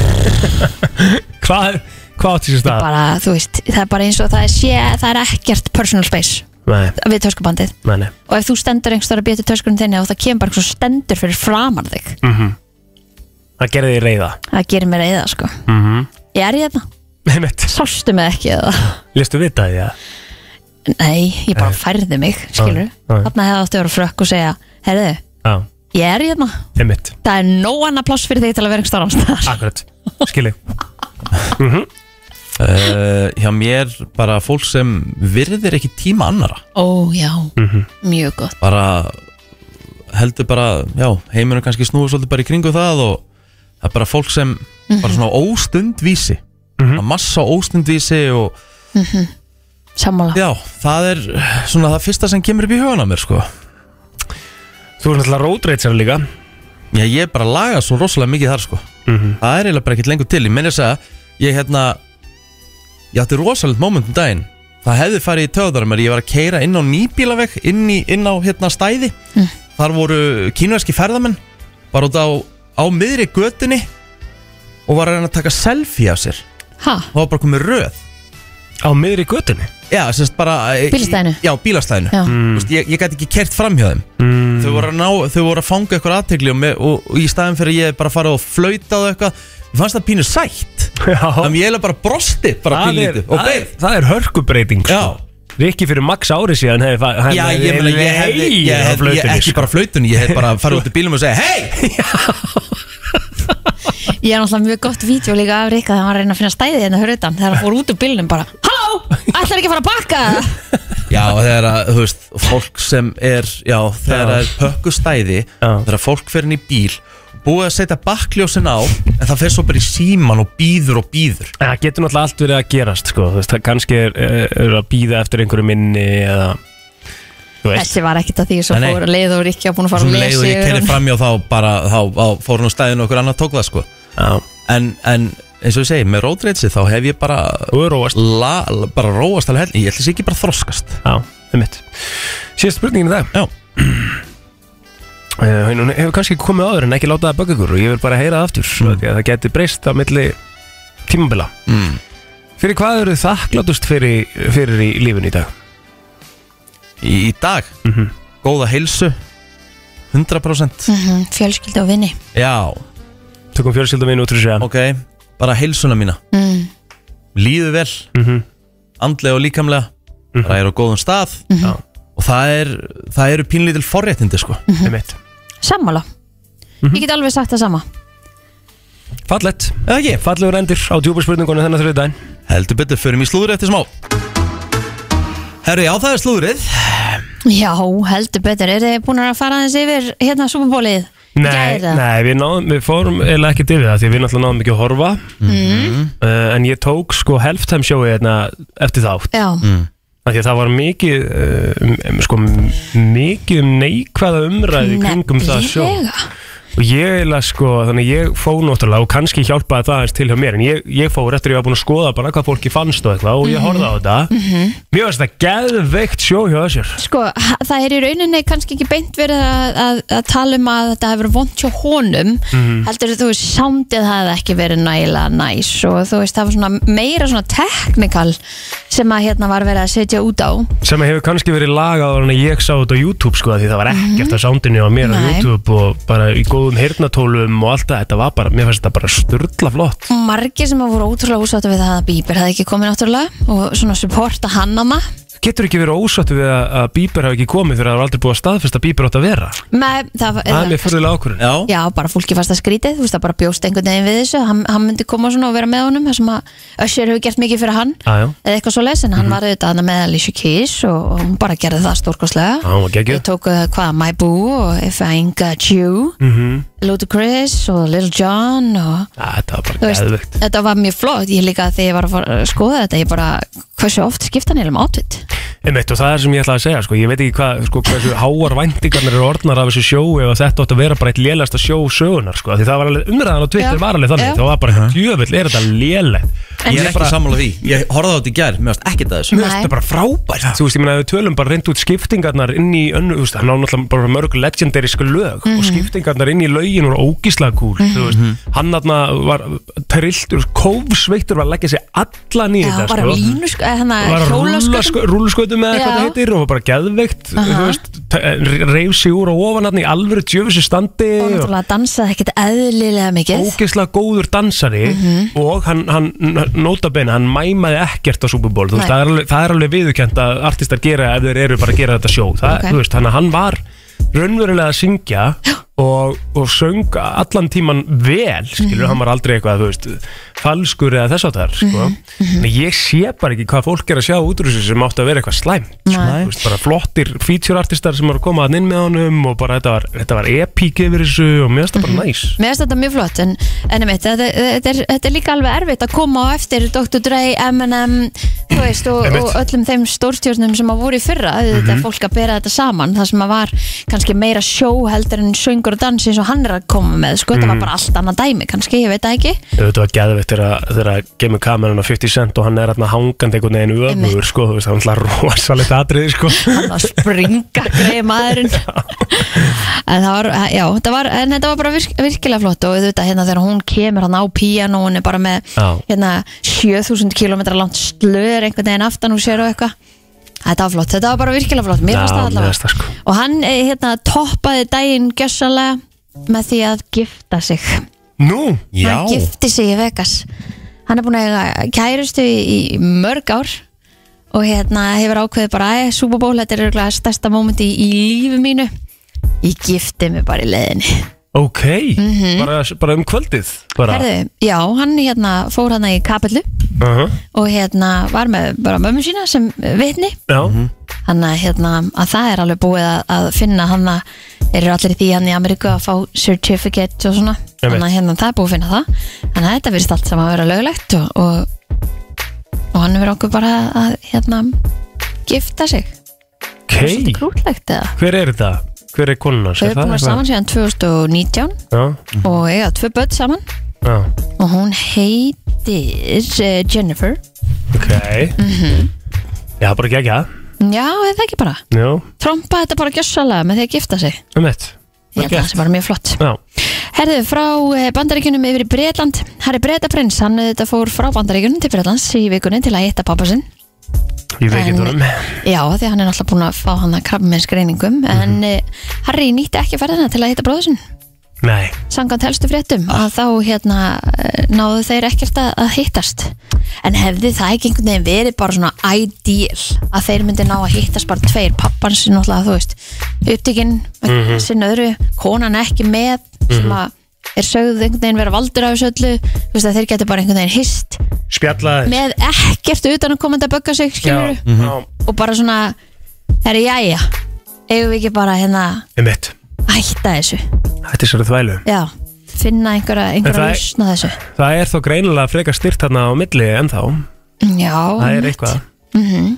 hvað, hvað átti þessu stað? bara, þú veist, það er bara eins og það er, sé, það er ekkert personal space Nei, við töskubandið nei, nei. og ef þú stendur einhvers þar að býja til töskunum þinni og það kemur bara einhvers og stendur fyrir framar þig Mm. Það gerði þið reyða. það gerir mér eða sko Mm -hmm. ég er ég þetta, Einmitt. sástu mig ekki eða Lestu vita því að? nei, ég bara færði mig, skilur Já, já. þarna hefði átti að vera frökk og segja herðu, Já, ég er ég þetta einmitt. það er nóg annað pláss fyrir þig til að vera einhvers þar Ah. annars þar Akkurat. Skilji. uh, Hjá mér bara fólk sem virðir ekki tíma annara Ó, já, Mhm. mjög gott bara heldur bara, já, heiminum kannski snúið svolítið bara í kringu það og það er bara fólk sem bara svona óstundvísi mm massa óstundvísi og Sammála já, það er svona það fyrsta sem kemur upp í hugan á mér sko Þú er náttúrulega rótreitsar líka. Já, ég er bara að laga svo rosalega mikið þar sko Það er eiginlega bara ekkert lengur til Ég meni þess að ég hérna Ég átti rosalegt moment um daginn Það hefði farið í töðar mér Ég var að keira inn á nýbílaveg Inn, í, inn á hérna stæði Mm. Þar voru kínuverski ferðamenn Bara út á, á miðri götunni Og var að reyna að taka selfie af sér Ha, Það var bara komið röð Á miðri götunni. Já, semst bara eh, í- Bílastæðinu? Já, bílastæðinu Já. Þú veist, Ég, ég gæti ekki kert fram hjá þeim mm. þau, voru að ná, þau voru að fanga eitthvað aðtegli og, með- og, og í staðin fyrir að ég bara fara og flauta og eitthvað Mér fannst það pínu sætt Já. Þannig ég heila bara brosti bara Það er, pínlítið og það, er, beið það er hörkubreiting sko. Já. Rikki fyrir max ári síðan hefði fa- hann Já, ég meina, ég hefði, ég heyr á hefði, ég, flautunni, ekki sko. bara flautunni, ég hefði bara farið út í bílum og segja Hei! ég er náttúrulega mjög gott vídeo líka af Rikka þegar hann var að reyna að finna stæði hérna fyrir utan þegar hann fór út úr bílnum bara Halló, ætlar ekki að fara að bakka eða?" Já, og þegar að, þú veist, fólk sem er, já, þegar það er pökkustæði Já. Þegar fólk fer inn í bíl, búið að setja bakkljósin á En það fer svo bara í síman og býður og býður En Það getur náttúrulega allt verið að gerast sko. Þú veist, það Kannski er, er að býða eftir einhverju minni eða, Þú veist Þessi var ekkit að því svo Nei, nei. fór að leið og Rikki að búin að fara Svo að um leið lesa og ég yfir kerði hann. framjá þá bara þá, þá fór hún á stæðinu og okkur annar tók það sko Já. en, en eins og ég segi, með rótreitsi þá hef ég bara Þú er róast la, la, bara róast alveg helling, ég ætlis ekki bara þroskast Já, um mitt Síðast spurningin í dag Já. Eh, Hún hefur kannski komið áður en ekki látað að bögga ykkur og ég vil bara heyra það aftur mm. því að það geti breyst á milli tímabila mm. Fyrir hvað eru þakklátust fyrir, fyrir í lífinu í dag? í, í dag, góða heilsu 100% Mhm, Fjölskyldu og vinni já, Tökum fjölskyldum inn út úr sér ok bara heilsuna mína Mm. líðu vel, Mhm. andlega og líkamlega það er á góðum stað Já. og það, er, það eru pínlítil forréttindi sko um mitt Sammála Mhm. Ég get alveg sagt það sama Fallett, eða ekki, fallegur endir á djúpa spurningunum þennan þrjóðu daginn heldur betur, förum í slúður eftir smá Herru, já, það er slúðrið Já, heldur betur, eru þið búin að fara aðeins yfir hérna súpubólið? Nei, nei við, náðum, við fórum eða ekki til það því að við náttúrulega náðum ekki að horfa uh, en ég tók sko halftime sjói hérna, eftir þátt Já, af því að það var mikið eh, uh, um, sko, m- mikið um neikvæða umræði kringum það sjó Nefnilega. og ég eiginlega sko, þannig ég fór náttúrulega og kannski hjálpaði það aðeins til hjá mér en ég, ég fór eftir ég var búin að skoða bara hvað fólki fannst og eitthvað og ég horfði á þetta mér finnst þetta geðveikt sjó hjá þessir Sko, ha- það er í rauninni kannski ekki beint verið að, að, að tala um að þetta hefur vond hjá honum Mhm. heldur þú veist, soundið hafði ekki verið nægilega næs og þú veist, það var svona meira svona teknikal sem að hérna var verið að setja út á sem hefur kannski verið lagað áður en að ég sá þetta á YouTube sko því það var ekkert að soundinu á mér á Nei. YouTube og bara í góðum hirnatólum og allt það, þetta var bara, mér finnst þetta bara sturla flott margir sem að voru ótrúlega úsáttu við það að Bieber hafði ekki komið náttúrulega og svona supporta hann hana Getur ekki verið ósattu við að, að Bieber hafi ekki komið þegar það var aldrei búið að staðfesta að Bieber átt að vera með, það, Það er mér fyrirlega ákvörðin Já, Já, bara fólki fast að skrítið, þú veist, það bara bjóst einhvern veginn við þessu, hann, hann myndi koma svona og vera með honum, það sem að Össur hefur gert mikið fyrir hann, Já, Mhm. já. eða eitthvað svo les, en hann var auðvitað þarna með Alicia Keys og, og hún bara gerði það stórkoslega. Já, hún var geggjuð. Ég tók uh, hvað, My Boo og If I Ain't Got You, mm Mhm. -hmm. Ludacris og Little John og Æ, Þetta var þú bara geðvögt þetta var mjög flott, ég líka þegar ég var að fara, að skoða þetta, ég bara, hversu oft skipta hann um eða átvit? Einmitt, og það er sem ég ætlaði að segja, sko, ég veit ekki hvað, sko, hversu háar væntingarnir eru orðnar af þessu sjói og þetta átt að vera bara eitt lélasta sjó sögunar, sko, því það var alveg umræðan og Twitter Já. var alveg þannig, Já. það var bara, djöfull, er þetta lélegt? ég er ekki sammála því Ég horfði á þetta í gær, mér varst ekkert að þessu Mér finnst Nei. þetta bara frábært Þú veist, ég meina, ef við tölum bara reynd út skiptingarnar inn í önnu, þú veist, hann á náttúrulega bara mörg legendarísku lög og Mhm. skiptingarnar inn í lögin voru ógíslega kúl, þú veist hann þarna var trilltur kófsveittur var að leggja sig allan í Já, þetta bara sko. línu, sko, eh, hana, var hjólaskötum. að rúlaskötu með hvað sko. Já. það heitir og var bara geðveikt, þú veist t- reif sig úr og ofan hann í alvöru djöfusi standi Og og náttúrulega dansaði ekkert eðlilega mikið ógeðslega góður dansari Mhm. og hann, hann notabene, hann mæmaði ekkert á Super Bowl, þú veist, Nei. það er, alveg, það er alveg viðurkend að artistar gera ef þeir eru bara að gera þetta sjó, það, Ok. þú veist, þannig að hann var raunverulega að syngja og, og söng allan tíman vel, skilur, Mhm. hann var aldrei eitthvað, þú veist, falskur eða þess að það, sko, Mhm. en ég sé bara ekki hvað fólk er að sjá út úr þessu sem átti að vera eitthvað slæmt, sko, Nei. þú veist, bara flottir feature artistar sem var að koma að inn með honum og bara þetta var, þetta var epík yfir þessu og mér finnst það Mhm. bara næs. Mér finnst þetta mjög flott en, en einmitt, þetta, þetta, er, þetta er líka alveg erfitt að koma á eftir Dr. Dre, Eminem þú veist, og, Einmitt. og öllum þeim stórstjórnum sem að voru í fyrra þetta er fólk að bera þetta saman það sem að var kannski meira sjó heldur en söngur og dans eins og hann er að koma með sko, þetta var bara allt annað dæmi kannski, ég veit það ekki Þetta var geðveitt þegar þegar að gemur kameran á 50 cent og hann er hérna hangandi einhvern veginn Einmitt. öfur, sko, þú veist, það var alltaf rosalegt atriði, sko. hann að springa greið maðurinn en það var, já, það var en þetta var bara virk, virkilega flott og þetta hérna þegar hún kemur hann á píjan og hún er bara með Já. hérna 7000 km langt slör einhvern veginn aftan úr sér og eitthvað Þetta var flott, þetta var bara virkilega flott, mér Já, fannst það mér allavega fannst það, sko. Og hann eh, hérna toppaði daginn gjössalega með því að gifta sig Nú, Já, hann gifti sig í Vegas hann er búin að eiga kærustu í, í mörg ár og hérna hefur ákveðið bara að Super Bowl þetta er örugglega stærsta móment í, í lífi mínu ég gifti mig bara í leiðinni ok, bara, bara um kvöldið, bara. Mhm. Herðu, já, hann hérna fór hann í kapillu Uh -huh. og hérna var með bara mömmu sína sem vitni Já, Mhm. hann að hérna að það er alveg búið að, að finna hann að þeir eru allir í því hann í Ameríku að fá certificate og svona þannig Einmitt. að hérna það er búið að finna það þannig að þetta virðist allt saman að vera löglegt og, og, og hann verið okkur bara að hérna gifta sig ok, svolítið krútlegt eða hver er þetta? Hver er konuna? þau eru búin að saman síðan 2019 Já, og eiga tvö börn saman já, og hún heitir eh, Jennifer ok. Mhm. Já, bara gegja, já, eða ekki bara já, trompa þetta bara gjössalega með því að gifta sig um eitt. ég held að það sé bara mjög flott Já, Herðu, frá eh, Bandaríkjunum yfir í Breitland Harry Breitaprins, hann eh, þetta fór frá Bandaríkjunum til Breitlands í vikunni til að hitta pappa sinn ég veit ekki En- eh, það um. Já, því hann er náttúrulega búin að fá hann að krabba með skreiningum En eh, Harry nýtti ekki ferðina til að hitta bróður sinn Nei, Sangan helstu fréttum Ah. að þá hérna eh, náðu þeir ekkert að, að hittast En hefði það ekki einhvern veginn verið bara svona ideal að þeir myndi ná að hittast bara tveir pappan sinn náttúrulega, þú veist, upptikinn mm Mhm. sinn öðru, konan ekki með sem að er sögð einhvern veginn vera valdur af þessu öllu þú veist að þeir getur bara einhvern veginn hist spjallaði. með ekkert utan að koma að bögga sig skilur Já, já, og bara svona herri jæja, eigum við ekki bara hérna um eitt. hætta þessu, Þetta er sér að þvælu. já finna einhverja, einhverja það er- lausn á þessu Það er þó greinilega frekar styrt þarna á milli ennþá. Já, það er einmitt. Mhm. eitthvað mm -hmm.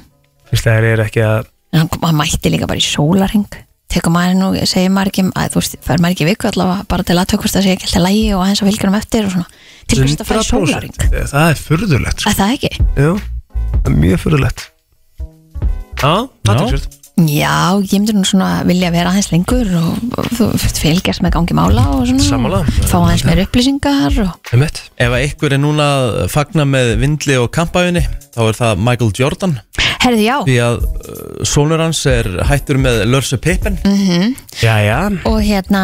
Fyrst að þeir eru ekki að En hann, kom- hann mætti líka bara í sólaring tekur maður nú, segir maður ekki að þú veist, fer maður ekki í viku allavega bara til að tökvist að segja ekki alltaf lægi og aðeins að fylgjum eftir og svona, til hvers að fara í sólaring 100%. Það er furðulegt sko. að það ekki? Já, það er mjög furðulegt Já, aðeinsvöld Já, ég myndi nú svona vilja vera aðeins lengur og, og þú veist, fylgjast með gangi mála og svona, Sammála. fá aðeins meir upplýsingar og, Emmett Ef að einhver er núna að fagna með vindli og kampaðinni þá er það Michael Jordan herðu já því að uh, sonur hans er hættur með Lörse Pippen Jæja, og hérna,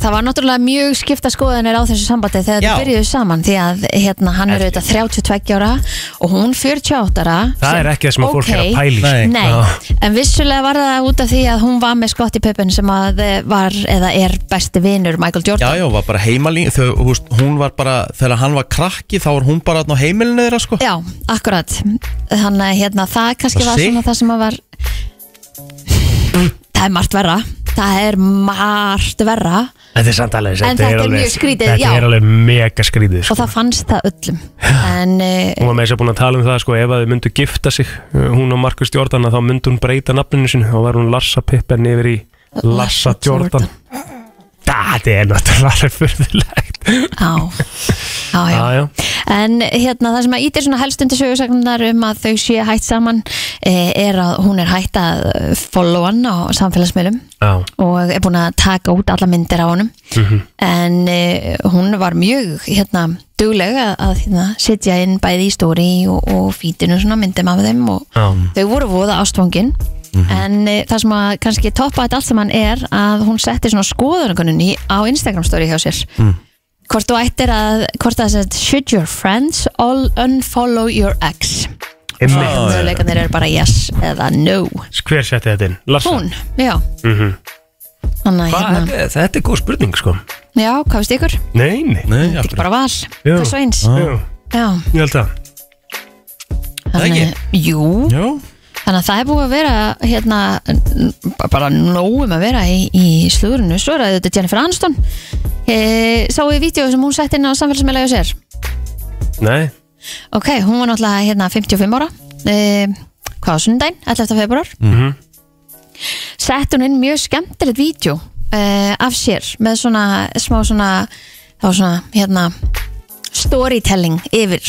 það var náttúrulega mjög skipta skoðanir á þessu sambandi þegar Já. þau byrjuðu saman því að hérna, hann er auðvitað 32 ára og hún 48 ára það sem- er ekki það sem að fólk er að ókei, pæli Nei. Nei, Já. en vissulega var það út af því að hún var með Scottie Pippen sem að eh, var eða er besti vinur Michael Jordan Já, já, var bara heimalín þau, húst, hún var bara, þegar hann var krakki þá var hún bara þarna á heimilinu þeirra sko Já, akkurat Þannig að hérna, það kannski Og var sitt. svona það sem að var Það er margt verra Það er margt verra Þetta er samt alveg En þetta er mjög skrítið, Þetta já. er alveg mega skrítið sko. Og það fannst það öllum En uh, Hún var með þess að búin að tala um það sko, ef að þau myndu gifta sig uh, hún og Markus Jordan að þá myndu hún breyta nafninu sinu og var hún Larsa Pippen yfir í Larsa Larsa Jordan Jordan. Það er náttúrulega alveg fyrðilegt á, á, já. Já, já. En hérna það sem að ítir svona helst undir sögursagnar um að þau sé hætt saman eh, er að hún er hætt að eh, follow hann á samfélagsmiðlum Já, og er búin að taka út alla myndir á honum en uh, hún var mjög hérna dugleg að, að hérna, setja inn bæði í stóri og, og fítinu svona myndum af þeim og já, þau voru voða ástfangin Mhm. en uh, það sem að kannski toppa þetta allt saman er að hún setti svona skoðanakönnunni á Instagram story hjá sér Mm. hvort þú ættir að hvort það sett should your friends all unfollow your ex einmitt já. möguleikarnir eru bara yes eða no Hver setti þetta inn? Larsa? hún, já Mhm. þannig að Hva, hérna þetta, þetta er góð spurning sko já, hvað veist ykkur? Nei, nei, Nei, af Þetta er hverju? bara val, Já. það er svo eins Já, Já, ég held að ekki? þannig, jú, Já, þannig að það er búið að vera hérna, n- bara nógum að vera í, í slúrinu, svo er að þetta Jennifer Aniston e, sá í vídeo sem hún sett inn á samfélagsmeðlega sér Nei, ok, hún var náttúrulega hérna 55 ára e, hvað á sundaginn, 11. februar Mhm. sett hún inn mjög skemmtilegt vídeo e, af sér með svona smá svona, það var svona hérna storytelling yfir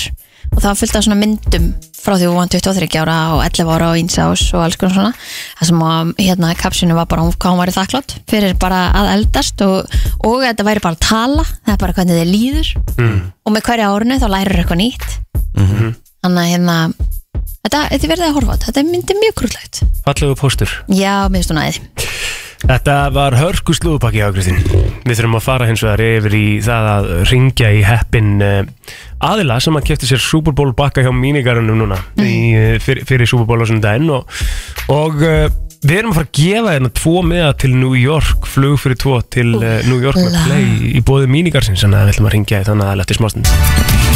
og það var fullt af svona myndum frá því hún var 23 ára og 11 ára og 1 ás og alls konar svona það sem að, hérna kapsinu var bara hún- hvað hún væri þakklátt fyrir bara að eldast og, og þetta væri bara að tala það er bara hvernig þið líður og með hverja árinu þá lærir eitthvað nýtt þannig að hérna þetta, þetta verðið að horfa á þetta, þetta er myndið mjög krúllegt fallegu póstur já, mér finnst hún aðeins Þetta var hörku slúðupakki á Kristín Við þurfum að fara hins vegar yfir í það að ringja í heppin eh, aðila sem að kefti sér Super Bowl bakka hjá mínigarunum núna Mm. í, eh, fyrir, fyrir Super Bowl á sem daginn og, og eh, við erum að fara að gefa hérna tvo meða til New York flug fyrir tvo til eh, New York með la. play í bóði mínigarsins þannig að við ætlum að ringja í þann aðila eftir smástund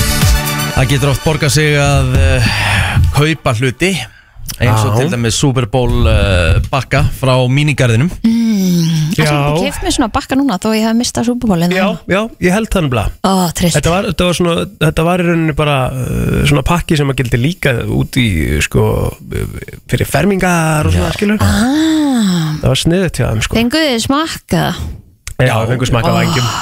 það getur oft borgað sig að uh, kaupa hluti eins og Já. til dæmis Super Bowl uh, bakka frá mínigarðinum ég geti keft mér svona bakka núna þó ég hef mistað súbubólin já, já, ég held þann blað hérna. ó, trist Þetta var, þetta, var svona, þetta var í rauninni bara uh, svona pakki sem að gildi líka út í sko, uh, fyrir fermingar og svona skilur ah, Það var sniðið til þeim sko fenguð þið smakka Já, fengur Ah. smakað vængjum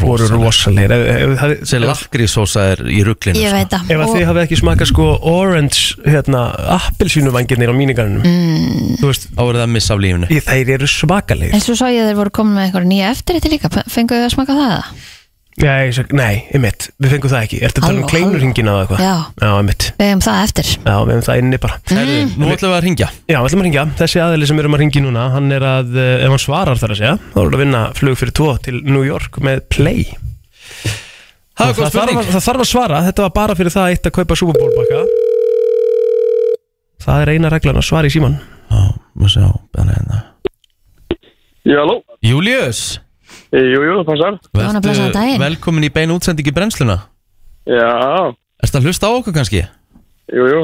voru rosalegir Ef- ef- ef- sem ef- lakrísósa er í sko. rugglinu ég veit það Ef að Og- þið hafið ekki smakað sko orange hérna, appelsínu vangirnir á mínigarnum mm. Þú veist, þá er það að missa af lífinu ég- þeir eru svakalegir en svo sá ég að þeir voru komin með einhverja nýja eftir þetta líka fenguð þið að smakka það eða? Nei, ég sag- nei, einmitt, við fengum það ekki Ertu að tala um Halló, kleinurhingina eða eitthvað? Já. Já, einmitt við hefum það eftir Já, við hefum það inni bara Mm. Herðu, nú ætlum við að ringja Já, við ætlum að ringja. Þessi aðili sem við erum að ringja í núna, hann er að, eh, ef hann svarar þar að segja, þá er hann að vinna flug fyrir tvo til New York með Play. Það er Og góð þarf, spurning að- það þarf að svara, þetta var bara fyrir það eitt að kaupa súbúrbólbakka. Það er eina reglan að svara í síman. Já, maður sjá, bara hérna. Já, halló. Július Eh, Jú, jú, það passar. Góðan að blessaðan daginn. velkomin í beinu útsendingi brennsluna Já, Erst að hlusta á okkur kannski? jú, jú.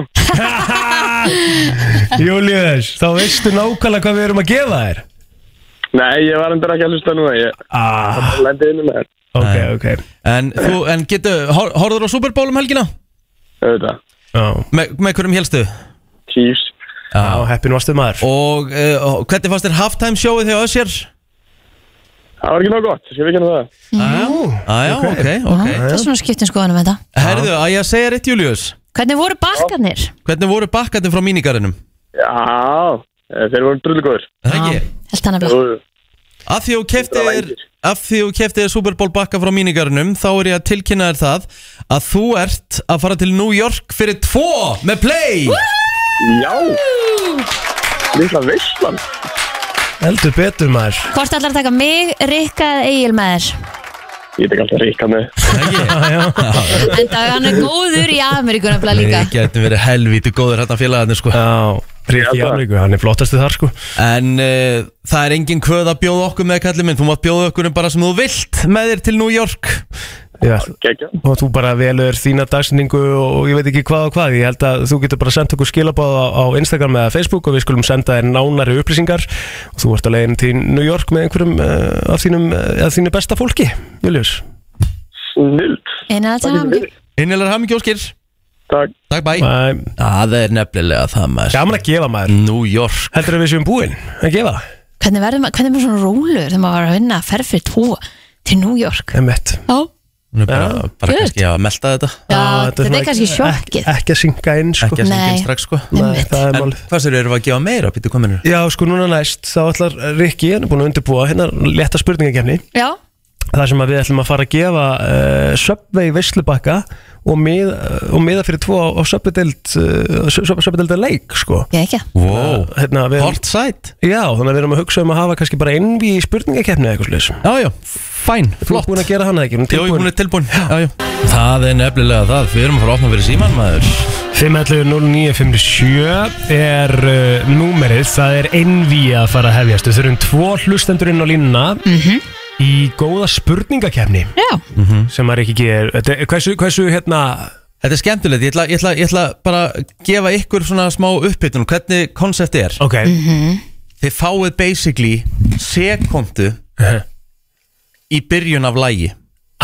Július, þá veistu nákvæmlega hvað við erum að gefa þér. Nei, ég var endur ekki að hlusta núna. Ég Ah, lendi inn með þér. ok, ok. En, þú, en getur, hor, horður á Super Bowl um helgina? Auðvitað. Já. Me, með hverjum helstu? Chiefs. Já, heppin varstu maður Og uh, hvernig fannst þér halftime showið þegar össjar? Það var ekki nóg gott, skal við kenna það Ah. Æja, Ah, ok, Já, ok Það er svona skiptum skoðanum þetta Herðu, að ég að segja rétt Július Hvernig voru bakkarnir? Hvernig voru bakkarnir frá mínigarinum? Já, eh, þeir voru drullgóður Er Það ekki? Held hann að blá Af því þú keftir Ah. Það var þér engir. Af því þú keftir þér Super Bowl bakka frá mínigarunum Þá er ég að tilkynna þér það Að þú ert að fara til New York fyrir tvo Með play Já Lilla veislan Heldur betur maður Hvort ætlar að taka mig, Rikka eða Egil með þér? Ég tek alltaf ríka með En það hann er góður í Ameríku nefnilega líka Við getum verið helvíti góður hérna félagarnir sko Já, Rikki Járvíku, hann er flottastu þar sko En uh, það er engin kvöð að bjóða okkur með kallið minn Þú mátt bjóða okkur um bara sem þú vilt Með þér til New York Já, Gekja og þú bara velur þína dagsinningu og ég veit ekki hvað og hvað ég held að þú getur bara sendt okkur skilabáð á, á Instagram eða Facebook og við skulum senda þér nánari upplýsingar og þú ert að leiðin til New York með einhverjum uh, af þínum, uh, af þínu besta fólki Julius Snild Einan að tala um Innilegar hamingi óskir Takk Takk bæ Æ, Það er nefnilega það maður Gaman að gefa maður New York Heldur að við séum búin að gefa Hvernig verður maður, hvernig er maður svona rólur þegar maður var að vinna að ferð fyrir tvo til New York? Emmett Já, Nú er bara, bara Good. kannski að melta þetta já þetta er kannski sjokkið. Ekki að synga inn sko Ekki að Nei. syngja inn strax sko Nei, Einmitt. það er En málið hvað sér eru að gefa meira? Býttu kominur Já sko núna næst þá ætlar Rikki hann er búin að undirbúa hérna letta spurningakefni Já, þar sem að við ætlum að fara að gefa uh, Subway Veslubakka og, mið, eh, og miða fyrir tvo á, á Subway-deild uh, Subway-deilda leik sko. ég ekki. Wow, hérna, við, hort sætt Já, þannig að við erum að hugsa um að hafa kannski bara einví í spurningakefni eða eitthvað slis Já, já, fæn, Þú er flott búin að gera hana ekki, hún er Jó, ég tilbúin er tilbúin já, já. Það er nefnilega það, við erum að fara að opna fyrir síman maður 511-0957 er uh, númerið, það er einví að fara að hefjast Við þurfum tvo hlustendur inn á línuna í góða spurningakefni Já, sem maður ekki gerir Þetta er- Hversu, hversu hérna, Þetta er skemmtilegt, ég ætla, ég ætla, ég ætla bara að gefa ykkur svona smá uppbytun hvernig konsepti er ok Þið fáið basically sekundu í byrjun af lægi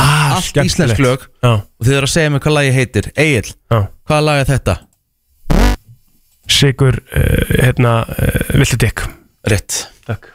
ah, Allt skemmtilegt. íslensk lög. Já, og þið eru að segja mér hvað lægi heitir Egil, já hvað lag er þetta? Sigur, uh, hérna, uh, viltu dykk? Rétt Takk.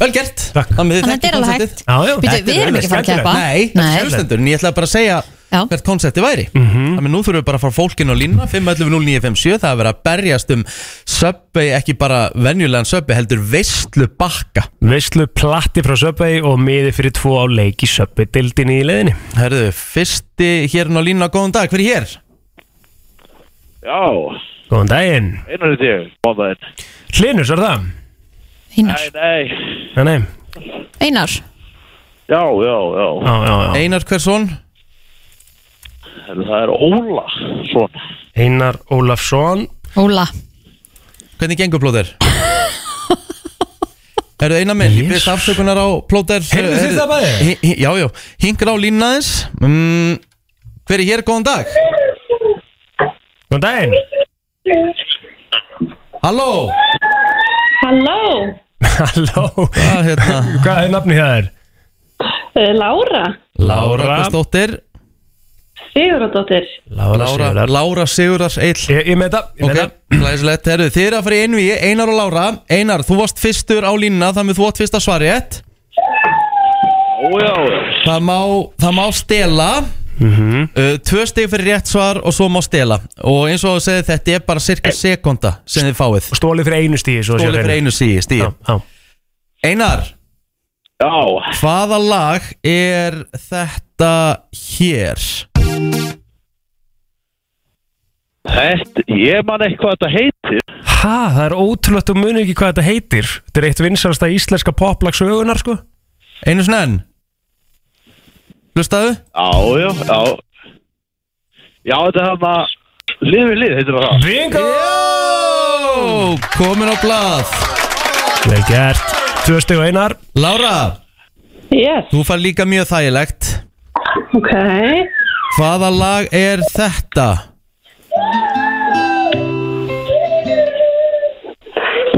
Vel gert, Takk. þannig þannig að þetta er alveg hægt. Já, já. Býtu, við erum ekki að fara að keppa. Ah, Nei, Nei. sjálfstendur, en ég ætla bara að segja Já. hvert konsepti væri Mhm. Þannig nú þurfum við bara að fara fólkinn á línuna 5.11.0957, það er verið að berjast um söpbi, ekki bara venjulegan söpbi, heldur veistlu bakka Veistlu platti frá Subway og miði fyrir tvo á leik í Subway dildinni í leðinni. Herðu, fyrsti hérna á línuna, góðan dag, hver er hér? Já, Góðan daginn. einar er þig Bóðaðinn Hlinur, svo er það? Einar, nei Nei, nei. Einar, Já, já, já Já, já, já. Einar Hversson, Það er Óla Svona Einar Ólafsson. Óla. hvernig gengur plóðir? Herðu, Einar minn, ég byrst Jesus. afsökunar á plóðir Heyrðu þið það bæði? Já, já, hingur á línuna þess mm, Hver er hér, góðan dag? Góðan daginn. Halló, Halló, Halló. hvað hérna? Hvað er nafni það er? uh, Lára Lára Hversdóttir Siguradóttir. Lára Lára, Sigurðar. Lára Sigurðars Eill Ég, ég með þetta, ég Ok, með þetta. læsilegt, herru, þið eru að fara í einvíi, Einar og Lára Einar, þú varst fyrstur á línuna, þannig þú átt fyrst að svari ett Ó, já, já Það má, það má stela uh, Tvö stig fyrir rétt svar og svo má stela Og eins og þú segir þetta er bara cirka sekunda sem þið fáið Og Stólið fyrir einu stíði. Stóli fyrir einu síði, Já, stíð já. Einar, Já, hvaða lag er þetta hér? þetta, ég man eitthvað þetta heitir Ha, það er ótrúlegt og muni ekki hvað þetta heitir. Þetta er eitt vinsalasta íslenska poplag sögunar, sko. Einu svona enn Hlustaðu? Já, já, já Já, þetta er hann að Lið við lið heitir það Bingo! Jó, komin á blað Vel gert. Tvö steg og einar. Lára, Yes, Þú fær líka mjög þægilegt ok. Hvaða lag er þetta?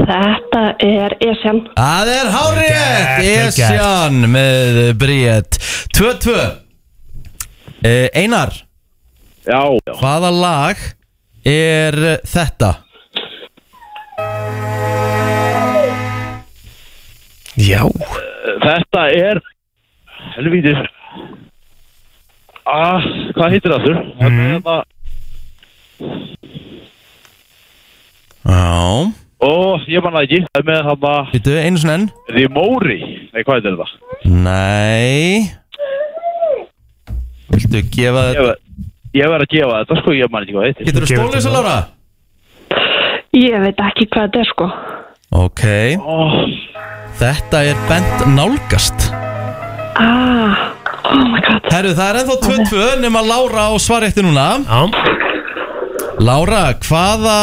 Þetta er Esjan. Það er hárið Vel gert, vel gert. Esjan með Bríett 2-2 Eh, Einar, Já, já hvaða lag er þetta? Já Þetta er Helvítis Ah, hvað heitir það þurr? Þetta er það Já Ó, ég manna ekki Það er með það maður Býtu, einu svona enn Rimóri Nei, hvað heitir það? Nei Viltu gefa Ég þetta ver- Ég verð að gefa þetta sko, ég man ekki hvað það heitir Getur þú Gefa stólið þessu þetta. Lára? Ég veit ekki hvað þetta er sko. Ok, Ó, þetta er bent nálgast Ah, oh my god. Herru, það er ennþá 2-2 nema Lára á svarétti núna Já, Lára, hvaða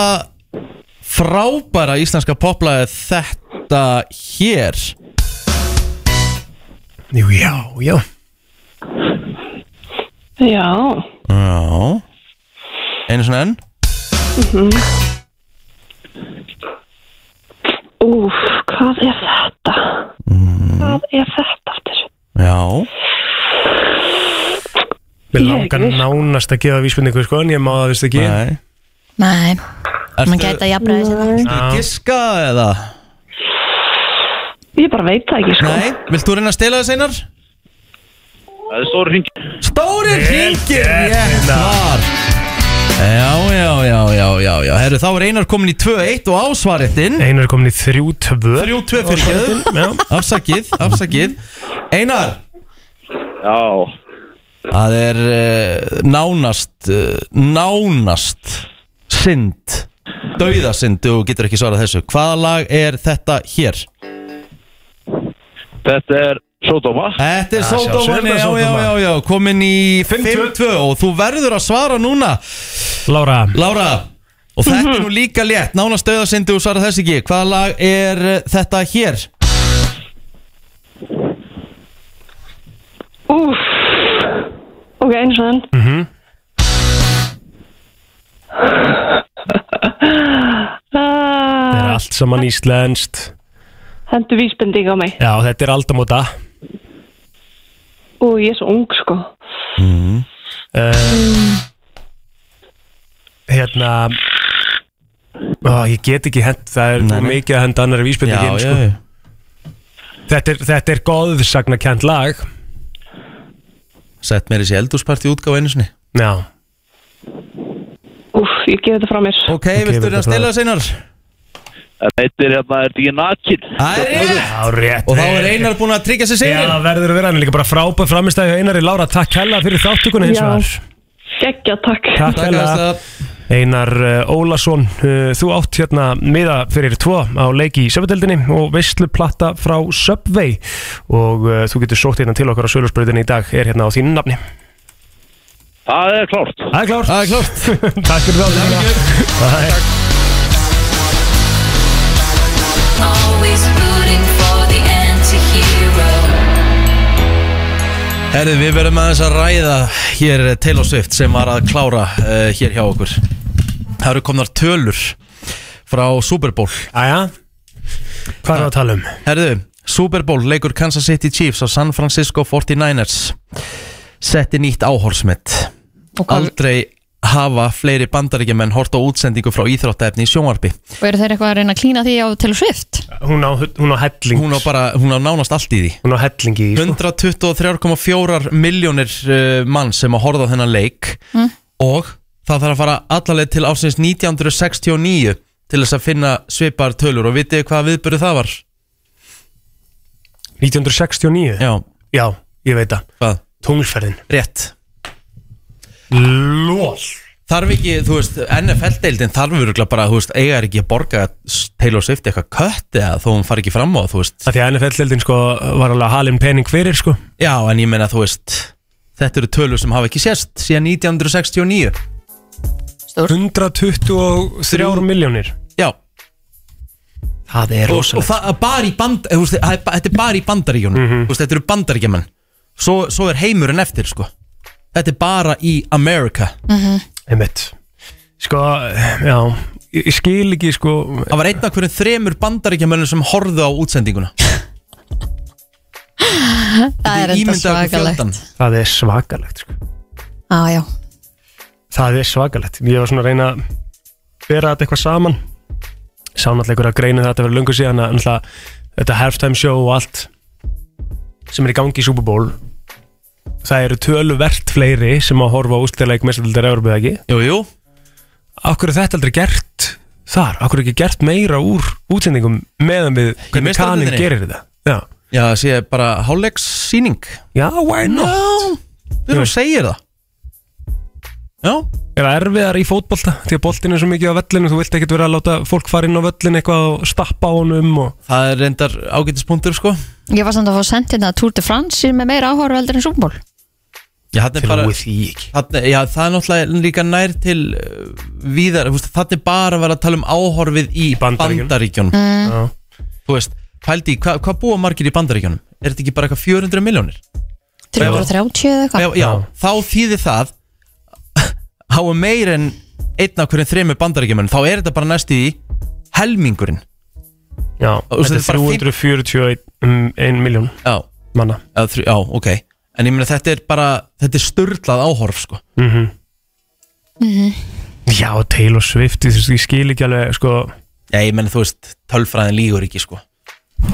frábæra íslenska popla er þetta hér? Jú, já, já Já. Já Einu svona enn Úf, hvað er þetta? Hvað er þetta aftur? Já Mér Ég langar ekki. nánast að gefa vísbendingu sko En ég má það vist ekki Nei Nei, mann Ertu gæti að jafna þessi að giska eða? Ég bara veit það ekki sko. Nei, vilt þú reyna að stela þess einar? það er stóri hring Stóri hringir gert, rétt Einar. svar Já, já, já, já, já, já Herru, þá er Einar komin í 2-1 og ásvarettin Einar er komin í þrjú tvö 3-2 fyrir geðum Já Afsakið, afsakið Einar, Já, það er uh, nánast uh, Nánast Synd Dauðasynd, þú getur ekki svarað þessu Hvaða lag er þetta hér? þetta er Sódóma Þetta er Sódómanni, sjálfsögðu er já, það já, Sódóma. já, já Komin í 5-2. 5-2 og þú verður að svara núna Lára Lára Og þetta er nú líka létt, nánast auðarsindi og svarað þess ekki Hvaða lag er uh, þetta hér? Úf. Ok, eins og enn. Mm Það er -hmm. allt saman íslenskt Hendur vísbending á mig. Já, þetta er aldamóta Ú, ég er svo ung sko. uh, Hérna Ó, Ég get ekki hend Það er Nei, nei. mikið að henda annar vísbendingin sko. já Þetta er, þetta er góðsagna kent lag Sett mér þessi eldúsparti útgáð einu sinni Já, Úf, ég gef þetta frá mér. Ok, okay viltu þetta reyna að frá- stela seinar? Þetta heitir hérna, er þetta ekki nakin? Það er rétt! já rétt Og þá er Einar búin að tryggja sér Já, seinar það verður að vera hann er líka bara frábær framistæði Einari Lára, takk hella fyrir þáttökuna eins Já. og Gekkja, takk. Takk Takk hella að Einar uh, Ólason, uh, þú átt hérna miða fyrir tvo á leiki í söfndeldinni og veistluplatta frá Subway og uh, þú getur sótt hérna til okkar á sölursbröðinni í dag, er hérna á þínu nafni. Það er klárt Það er klár, Það er klárt takk fyrir þá. Always rooting for the anti-hero. Herðu, við verðum aðeins að ræða hér Taylor Swift sem var að klára uh, hér hjá okkur Það eru komnar tölur frá Super Bowl Æja, hvað er það að tala um? Herðu, Super Bowl leikur Kansas City Chiefs á San Francisco 49ers setti nýtt áhorsmitt Og hvað- Aldrei hafa fleiri bandaríkjumenn hort á útsendingu frá íþróttaefni í sjónvarpi Og eru þeir eitthvað að reyna að klína því á Taylor Swift? Hún á, hún á helling, Hún á bara, hún á nánast allt í því hún á helling í, sko. 123,4 miljónir uh, mann sem að horfa á þennan leik og það þarf að fara allaleg til ásins 1969 til þess að finna svipar tölur og vitið þið hvað viðbyrðu það var? 1969? Já, Já, ég veit það. hvað? Tunglferðin. Rétt Lól. Þarf ekki, þú veist, NFL-deildin þarf virkulega bara, þú veist, eiga er ekki að borga Taylor Swift eitthvað kött eða þó hún fari ekki fram á, þú veist Það því að NFL-deldin, sko, var alveg halin pening fyrir, sko. Já, en ég meina, þú veist, þetta eru tölur sem hafa ekki sést síðan 1969 123 miljónir. Já, Það er og, og það er bara í band, eh, þú veist, það er ba- þetta er bara í bandaríkjónum Þú veist, þetta eru bandaríkjaman svo, svo er heimurinn eftir, sko Þetta er bara í Amerika Einmitt Sko, já Ég ég skil ekki, sko Það var einn af hverjum þremur bandaríkjamönnum sem horfðu á útsendinguna Það er enda svakalegt Það er svakalegt, sko Á, já, Það er svakalegt Ég var svona að reyna að um bera þetta eitthvað saman Sá náttúrulega einhverja greinu þetta verið lungu síðan að náttúrulega þetta halftime show og allt sem er í gangi í Super Bowl það eru töluvert fleiri sem að horfa á úsliðleik mestaldar Európa eða ekki Jú, jú Akkur er þetta aldrei gert þar? Akkur er ekki gert meira úr útsendingum meðan við hvernig kanin meistaradeildinni? gerir þetta? Já, Já, það sé bara hálfleiks sýning já why not? Þú erum að segja það Já, Er það erfiðar í fótbolta? Því að boltin er svo mikið á vellinu, þú vilt ekkert vera að láta fólk fara inn á vellinu eitthvað og stappa á honum og... það er reyndar ágætispunktur sko Ég var samt að fá sendt hérna að Tour de France er með meira áhorveldur en Super Bowl Já, þarna er bara því ekki. þarna, Já, það er náttúrulega líka nær til uh, víðar, þú veist, þarna er bara að vera að tala um áhorfið í Bandaríkjunum. bandaríkjunum Já. Þú veist, pældi, í, hva, hvað búa margir í bandaríkjunum? Er þetta ekki bara eitthvað 400 miljónir? 330 Já, eða eitthvað já, þá þýðir það háa meir en einn af hverjum þremur bandaríkjumunum, þá er þetta bara næst í helmingurinn Já, Og þetta þetta er er bara 341 um, ein miljón Já, manna. Eða þrjú, já, ok En ég meina þetta er bara, þetta er störlað áhorf sko Mhm. Já, Taylor Swift, ég, ég skil ekki alveg, sko... Já, ég meina þú veist, tölfræðin lígur ekki sko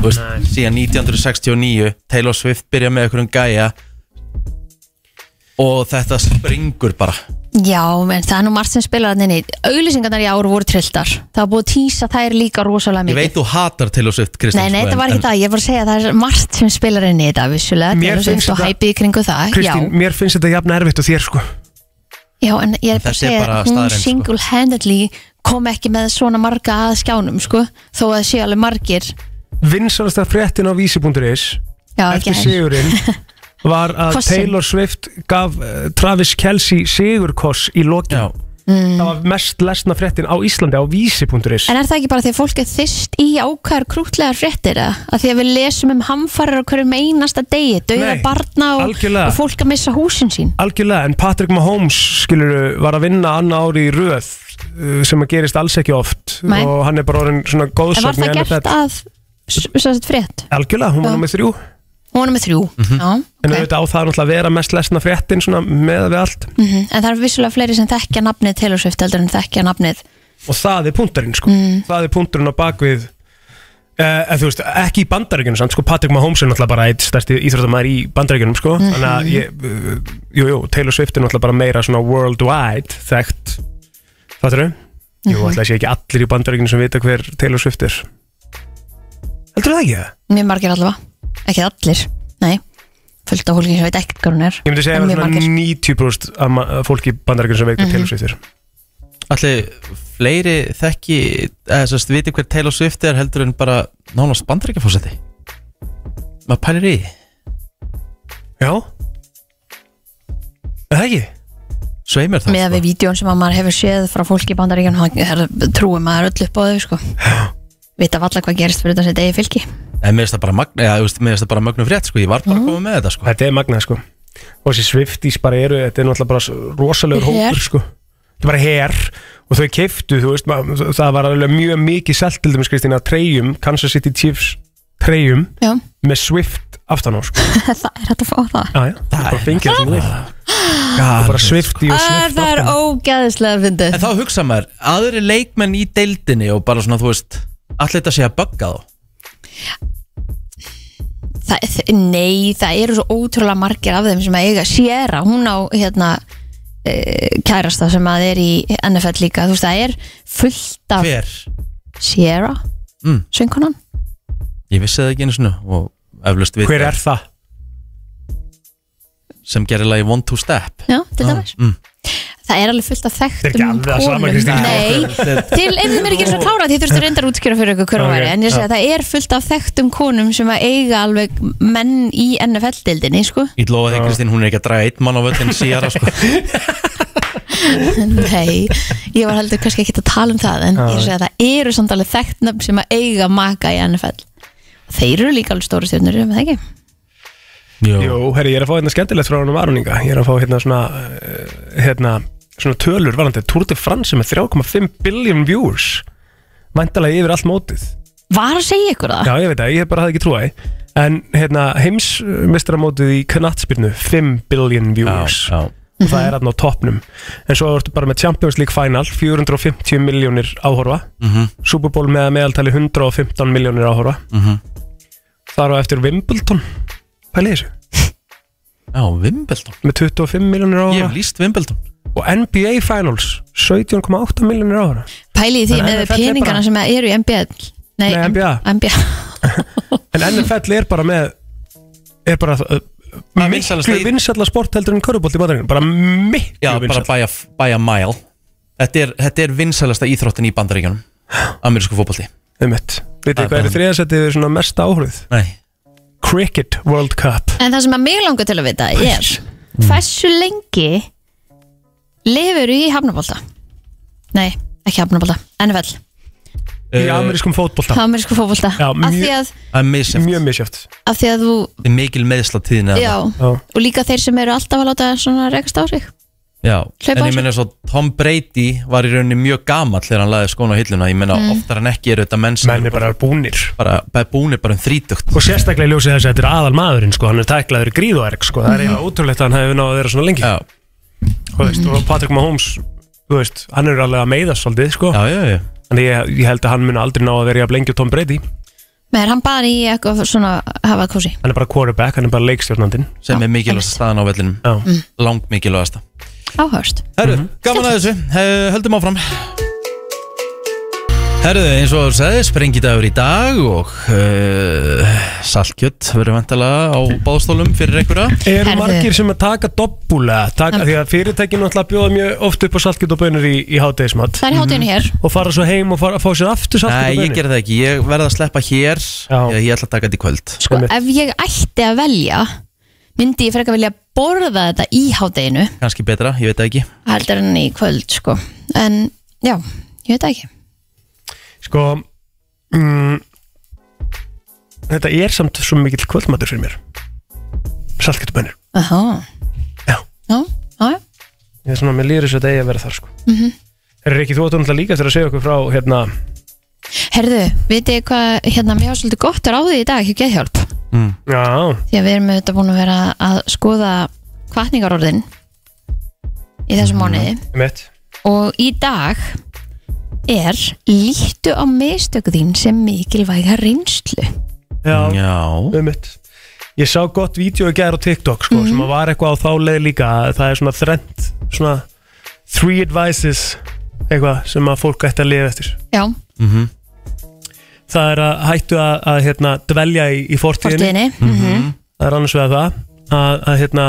Þú veist, síðan 1969 Taylor Swift byrja með einhverjum gæja Og þetta springur bara Já, menn það er nú margt sem spilar hann inn í Auglýsingarnar í ár voru trilltar Það var búið að týsa þær líka rosalega Ég mikið veit þú hatar Taylor Swift, Kristján Nei, nei, sko, þetta var en- ekki það, ég var að segja að það er margt sem spilar inn í þetta vissulega, Mér Taylor Swift finnst og þetta- hæpið í kringu það, Kristín, mér finnst þetta jafn erfitt og þér, sko. já, já, en ég er bara að Þetta er segja bara að hún staðreynd, sko. single-handedly kom ekki með svona marga að skjánum, sko, þó að það séu alveg margir, Vinsalasta fréttin á vísi.is já, ekki eftir hær. sigurinn var að Kossinn. Taylor Swift gaf eh, Travis Kelce sigurkoss í lokin. Já, Það var mest lesna fréttin á Íslandi á vísi.is. En er það ekki bara því að fólk er þyst í ákvæðar krútlegar fréttir eða? að því að við lesum um hamfarir á hverjum einasta degi, dauða Nei, barna og, algjörlega. og fólk að missa húsin sín Algjörlega, en Patrick Mahomes skilur var að vinna annar ári í röð eh, sem að gerist alls ekki oft Nei. og hann er bara orðin En svona var góðsögn það gert að s- sem sagt, frétt? Algjörlega, hún var Já. nummið þrjú Hún er með þrjú Mhm. en já, ok. auðvitað á það er náttúrulega að vera mest lesna fréttin svona með við allt Mhm, En það er vissulega fleiri sem þekkja nafnið Taylor Swift heldur en þekkja nafnið og það er punkturinn sko Mm. það er punkturinn á bakvið Uh, þú veist, ekki í bandaríkjunum samt, sko, Patrick Mahomes er náttúrulega bara eitt stærsti íþróttamæður í bandaríkjunum sko. Mhm. þannig að ég, uh, jú, jú, Taylor Swift er náttúrulega bara meira svona worldwide þekkt, fattur þau? Jú, Mhm. ætla að sé ekki allir í bandaríkjunum sem vita hver Taylor Swift er Heldur það ekki það? Mjög margir allavega, ekki allir Nei, fullt af fólki sem veit ekkert hvað hún er Ég myndi segja En að mjög svona margir. Mhm. 90% af ma- af fólki í bandaríkjunum sem veit hver Taylor Swift er allir fleiri þekki eða sérst viti hver Taylor Swift er heldur en bara nánast bandaríkjafósetti maður pælir í því. Já Er Það ekki? svei mér það sko. Með að sko. við vídjón sem að maður hefur séð frá fólki í bandaríkjum trúum maður öll upp á þau sko. Vita valla hvað gerist fyrir þessi degi fylki en mér finnst það bara magna, eða, þú veist, mér finnst það bara magnum frétt sko, ég var bara að Mhm. koma með þetta sko Þetta er magnað sko Og þessi Swifties bara eru, þetta er náttúrulega bara s- rosalegur Her. hópur sko Þetta er bara her Og þau keiftu, þú veist, ma- það var alveg mjög mikið selt til dæmis Kristín að treyjum Kansas City Chiefs treyjum Já, með Swift aftan á sko það er hægt að fá það Ah, Já, já, það er bara fengið það sem þú vil God, Bara Swiftie og Æ, Swift Það er aftan á ógæðislega fyndið en þá hugsa maður, aðri leikmenn í deildinni og bara svona, þú veist allir þetta sé að bugga þá það, þ- Nei, það eru svo ótrúlega margir af þeim sem að eiga Sierra, hún á hérna eh, kærasta sem að er í NFL líka, þú veist það er fullt af hver, Sierra Mm. söngkonan, ég vissi það ekki einu svona og eflust við Hver er það? sem gerir lagi one two step já, til dæmis mm. það er alveg fullt af er Ah. ekki þekktum alveg það sama, Kristín. nei, til einnig mér ekki eins og klára því þurftu reyndar að útskjöra fyrir ykkur hver hún Ok, væri en ég segja það er fullt af þekktum konum sem að eiga alveg menn í NFL-dildinni sko. ég lofa þig Kristín, hún er ekki að draga eitt mann á völlin síðara sko nei, ég var heldur kannski ekki að tala um það en ég segja það eru samt alveg þekktum sem að eiga maka í NFL þeir eru líka alveg stóru stjórnur með það ekki Jú, herri, ég er að fá hérna skemmtilegt frá hann um Aroninga Ég er að fá hérna svona eh, hérna, svona tölur varandi Tour de France með 3,5 billion viewers Væntalega yfir allt mótið var að segja ykkur það? Já, ég veit það, ég bara hafði ekki trúaði En hérna, heimsmestramótið í knattspyrnu 5 billion viewers já, já. Og það er aðna á toppnum En svo ertu bara með Champions League Final Mhm. Mhm. 450 miljónir áhorfa mm -hmm. Super Bowl með að meðaltali 115 miljónir áhorfa þar á eftir Wimbledon pælið þessu, Já, Wimbledon með 25 miljonir Ég hef ára líst Wimbledon og NBA Finals 17,8 miljonir ára Pælið í því Þannig með NFL er peningana bara- sem eru í NBA Nei, Nei, M- NBA. NBA en NFL er bara með er bara uh, Bara vinsælasta miklu í- vinsalla sport heldur en körubólt í bandaríkjunum bara miklu Já, bara vinsælla. by a, by a mile Þetta er, þetta er vinsælasta íþróttin í bandaríkjanum Amerísku fótbolti Einmitt. Vitið Það þið er hvað er bara- í þriðasettið við svona mesta áhrif? Nei Cricket World Cup En það sem að mig langar til að vita er Mm. Hversu lengi lifur í Hafnabólda? Nei, ekki Hafnabólda, NFL í amerískum fótbolta Amerísku fótbolta Já, af, því mjög- að, Það er misjæmt Mjög misjöft af því að þú Þetta er mikil meðsla tíðin já, Já. Og líka þeir sem eru alltaf að láta svona rekast á sig Já, Hlaupa en á sig. ég meina svo Tom Brady var í rauninni mjög gamall þegar hann laði skóna á hilluna Ég Mm. meina oftar en ekki eru þetta menn sem menn er bara búnir bara, bara búinir bara um þrítugt og sérstaklega í ljósið þess að þetta er aðal maðurinn sko, hann er tæklaður í gríðuerg sko, það er eiginlega ótrúlegt að hann hefði náð að vera svona lengi Já, og, veist, og Patrick Mahomes þú veist, hann er alveg að meiða svolítið sko. já, já, já. en ég, ég held að hann mun aldrei ná að vera jafn lengi og Tom Brady Með hann bara í eitthvað svona hafa kósi hann er bara quarterback, hann er bara leikstjórnandinn sem Já, er mikilvægast staðan á vellinu Já. Mhm. Mm. Langt mikilvægasta Áhörst Herru, gaman að þessu, He- höldum áfram Herru, eins og þú sagði, sprengidagur í dag og uh, saltkjött verður vantalega á báðstólum fyrir einhverja Eru Herðu. margir sem að taka doppula taka, Mm. því að fyrirtækin náttúrulega bjóða mjög oft upp á saltkjöt og bönur í, í hátegismat Það er hátinu hér og fara svo heim og fara að fá sér aftur saltkjöt Nei, og ég bönur ger það ekki, ég verð að sleppa hér ég, ég ætla að taka þetta í kvöld sko, Einmitt. Ef ég ætti að velja myndi ég frekar vilja borða þetta í hátinu Kanski betra, ég veit það ekki heldur en í kvöld sko. En já, ég veit það ekki Sko mm, Þetta er samt svo mikill kvöldmatur fyrir mér Saltkjöt og bönur Aha. Já. Já, já, já. Ég er svona, mér líður þess að þetta eigi að vera þar sko mm Mhm. -hmm. Er ekki þú átt náttúrulega líka eftir að segja okkur frá hérna Herðu, vitið þið hvað hérna, mér var svolítið gott að ráði í dag hjá geðhjálp Já, því að við erum auðvitað búin að vera að skoða kvartningarorðin í Mhm. þessum mánuði mitt og í dag er líttu á mistök þín sem mikilvæga reynslu Já, Já, Einmitt. um Ég sá gott vídeo í gær á TikTok sko, sem að var eitthvað á þá leið líka það er svona þrennt svona three advices eitthvað sem að fólk ætti að lifa eftir já, það er að hættu að, að hérna, dvelja í, í fortíðinni fortíðinni mm það er annars vegar það að, að hérna,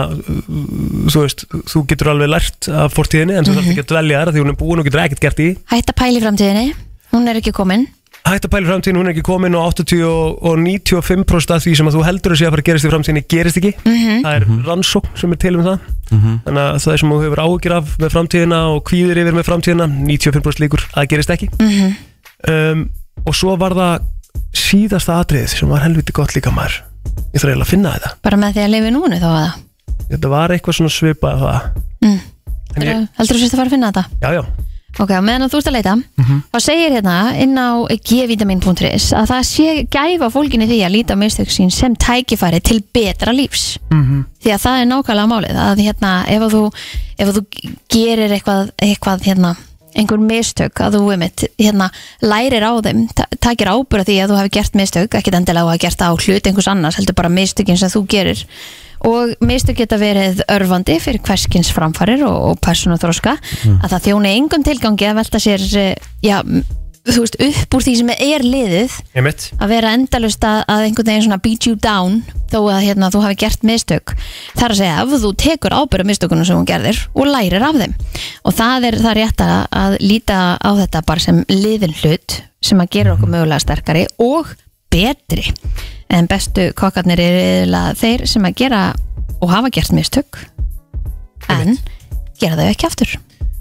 þú veist þú getur alveg lært af fortíðinni en þú þarf ekki að dvelja þar af því hún er búin og getur ekkert gert í hætta pæli framtíðinni hún er ekki komin hætt að pæla í framtíðin, hún er ekki komin og 80 og, og 95% af því sem að þú heldur að sé að fara að gerast í framtíðinni gerist ekki það er rannsókn sem er til um það þannig að það sem þú hefur áhyggjur af með framtíðina og kvíðir yfir með framtíðina 95% líkur að það gerist ekki um, og svo var það síðasta atriðið sem var helviti gott líka maður ég þarf eiginlega að finna þetta bara með því að lifi núna þá að það þetta var eitthvað svona svipað af það Mm. En ég, heldur þú sérst að fara að finna þetta já, já, Ok, á meðan að þú ert að leita Mhm. þá segir hérna inn á gvitamin.is að það sé gæfa fólkinni því að líta á mistök sín sem tækifæri til betra lífs því að það er nákvæmlega málið að hérna ef að þú, ef að þú gerir eitthvað, eitthvað hérna einhver mistök að þú einmitt hérna, lærir á þeim, ta- takir ábyrða því að þú hefur gert mistök, ekkit endilega að hafa gert það á hlut einhvers annars, heldur bara mistökin sem þú gerir og mistök geta verið örfandi fyrir hverskins framfarir og, og persónuþróska að það þjóni engum tilgangi að velta sér eh, já, m- þú veist, upp úr því sem er liðið ég mitt að vera endalust að, að einhvern veginn svona beat you down þó að hérna, þú hafi gert mistök þar að segja ef þú tekur ábyrðu mistökunum sem hún gerðir og lærir af þeim og það er það rétt að, að líta á þetta bara sem liðin hlut sem að gera okkur mögulega sterkari og betri en bestu kokkarnir eru yfirlega þeir sem að gera og hafa gert mistök en gera þau ekki aftur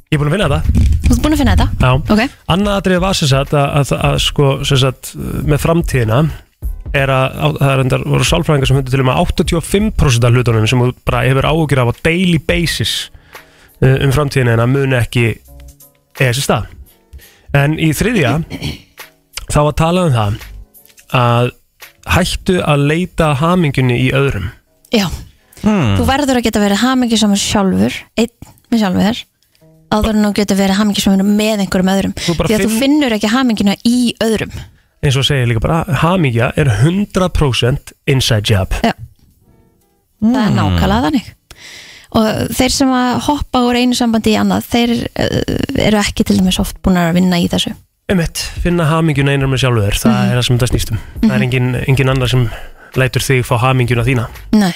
ég er búin að finna þetta Þú ert búin að finna þetta? já. Ok, Annað atrið var sem sagt að, að, að sko, sem sagt, með framtíðina er að, að það er endar, voru sálfræðingar sem hundur til um að 85% af hlutunum sem þú bara hefur áhugjur af á daily basis uh, um framtíðina en að muni ekki eða þessi stað en í þriðja þá var talað um það að hættu að leita hamingunni í öðrum já Hmm. Þú verður að geta verið hamingisamur sjálfur einn með sjálfur þér áður en þú getur verið hamingisamur með einhverjum öðrum Þú bara því að þú finn- finnur ekki hamingina í öðrum eins og segir líka bara, hamingja er 100% inside job það Hmm. er nákvæmlega þannig og þeir sem að hoppa úr einu sambandi í annað þeir uh, eru ekki til dæmis oft búin að vinna í þessu Umhett, finna hamingjuna einar með sjálfur þér, það Mhm. er það sem þetta snýstum Það er engin, engin annar sem lætur þig fá hamingjuna þína Nei.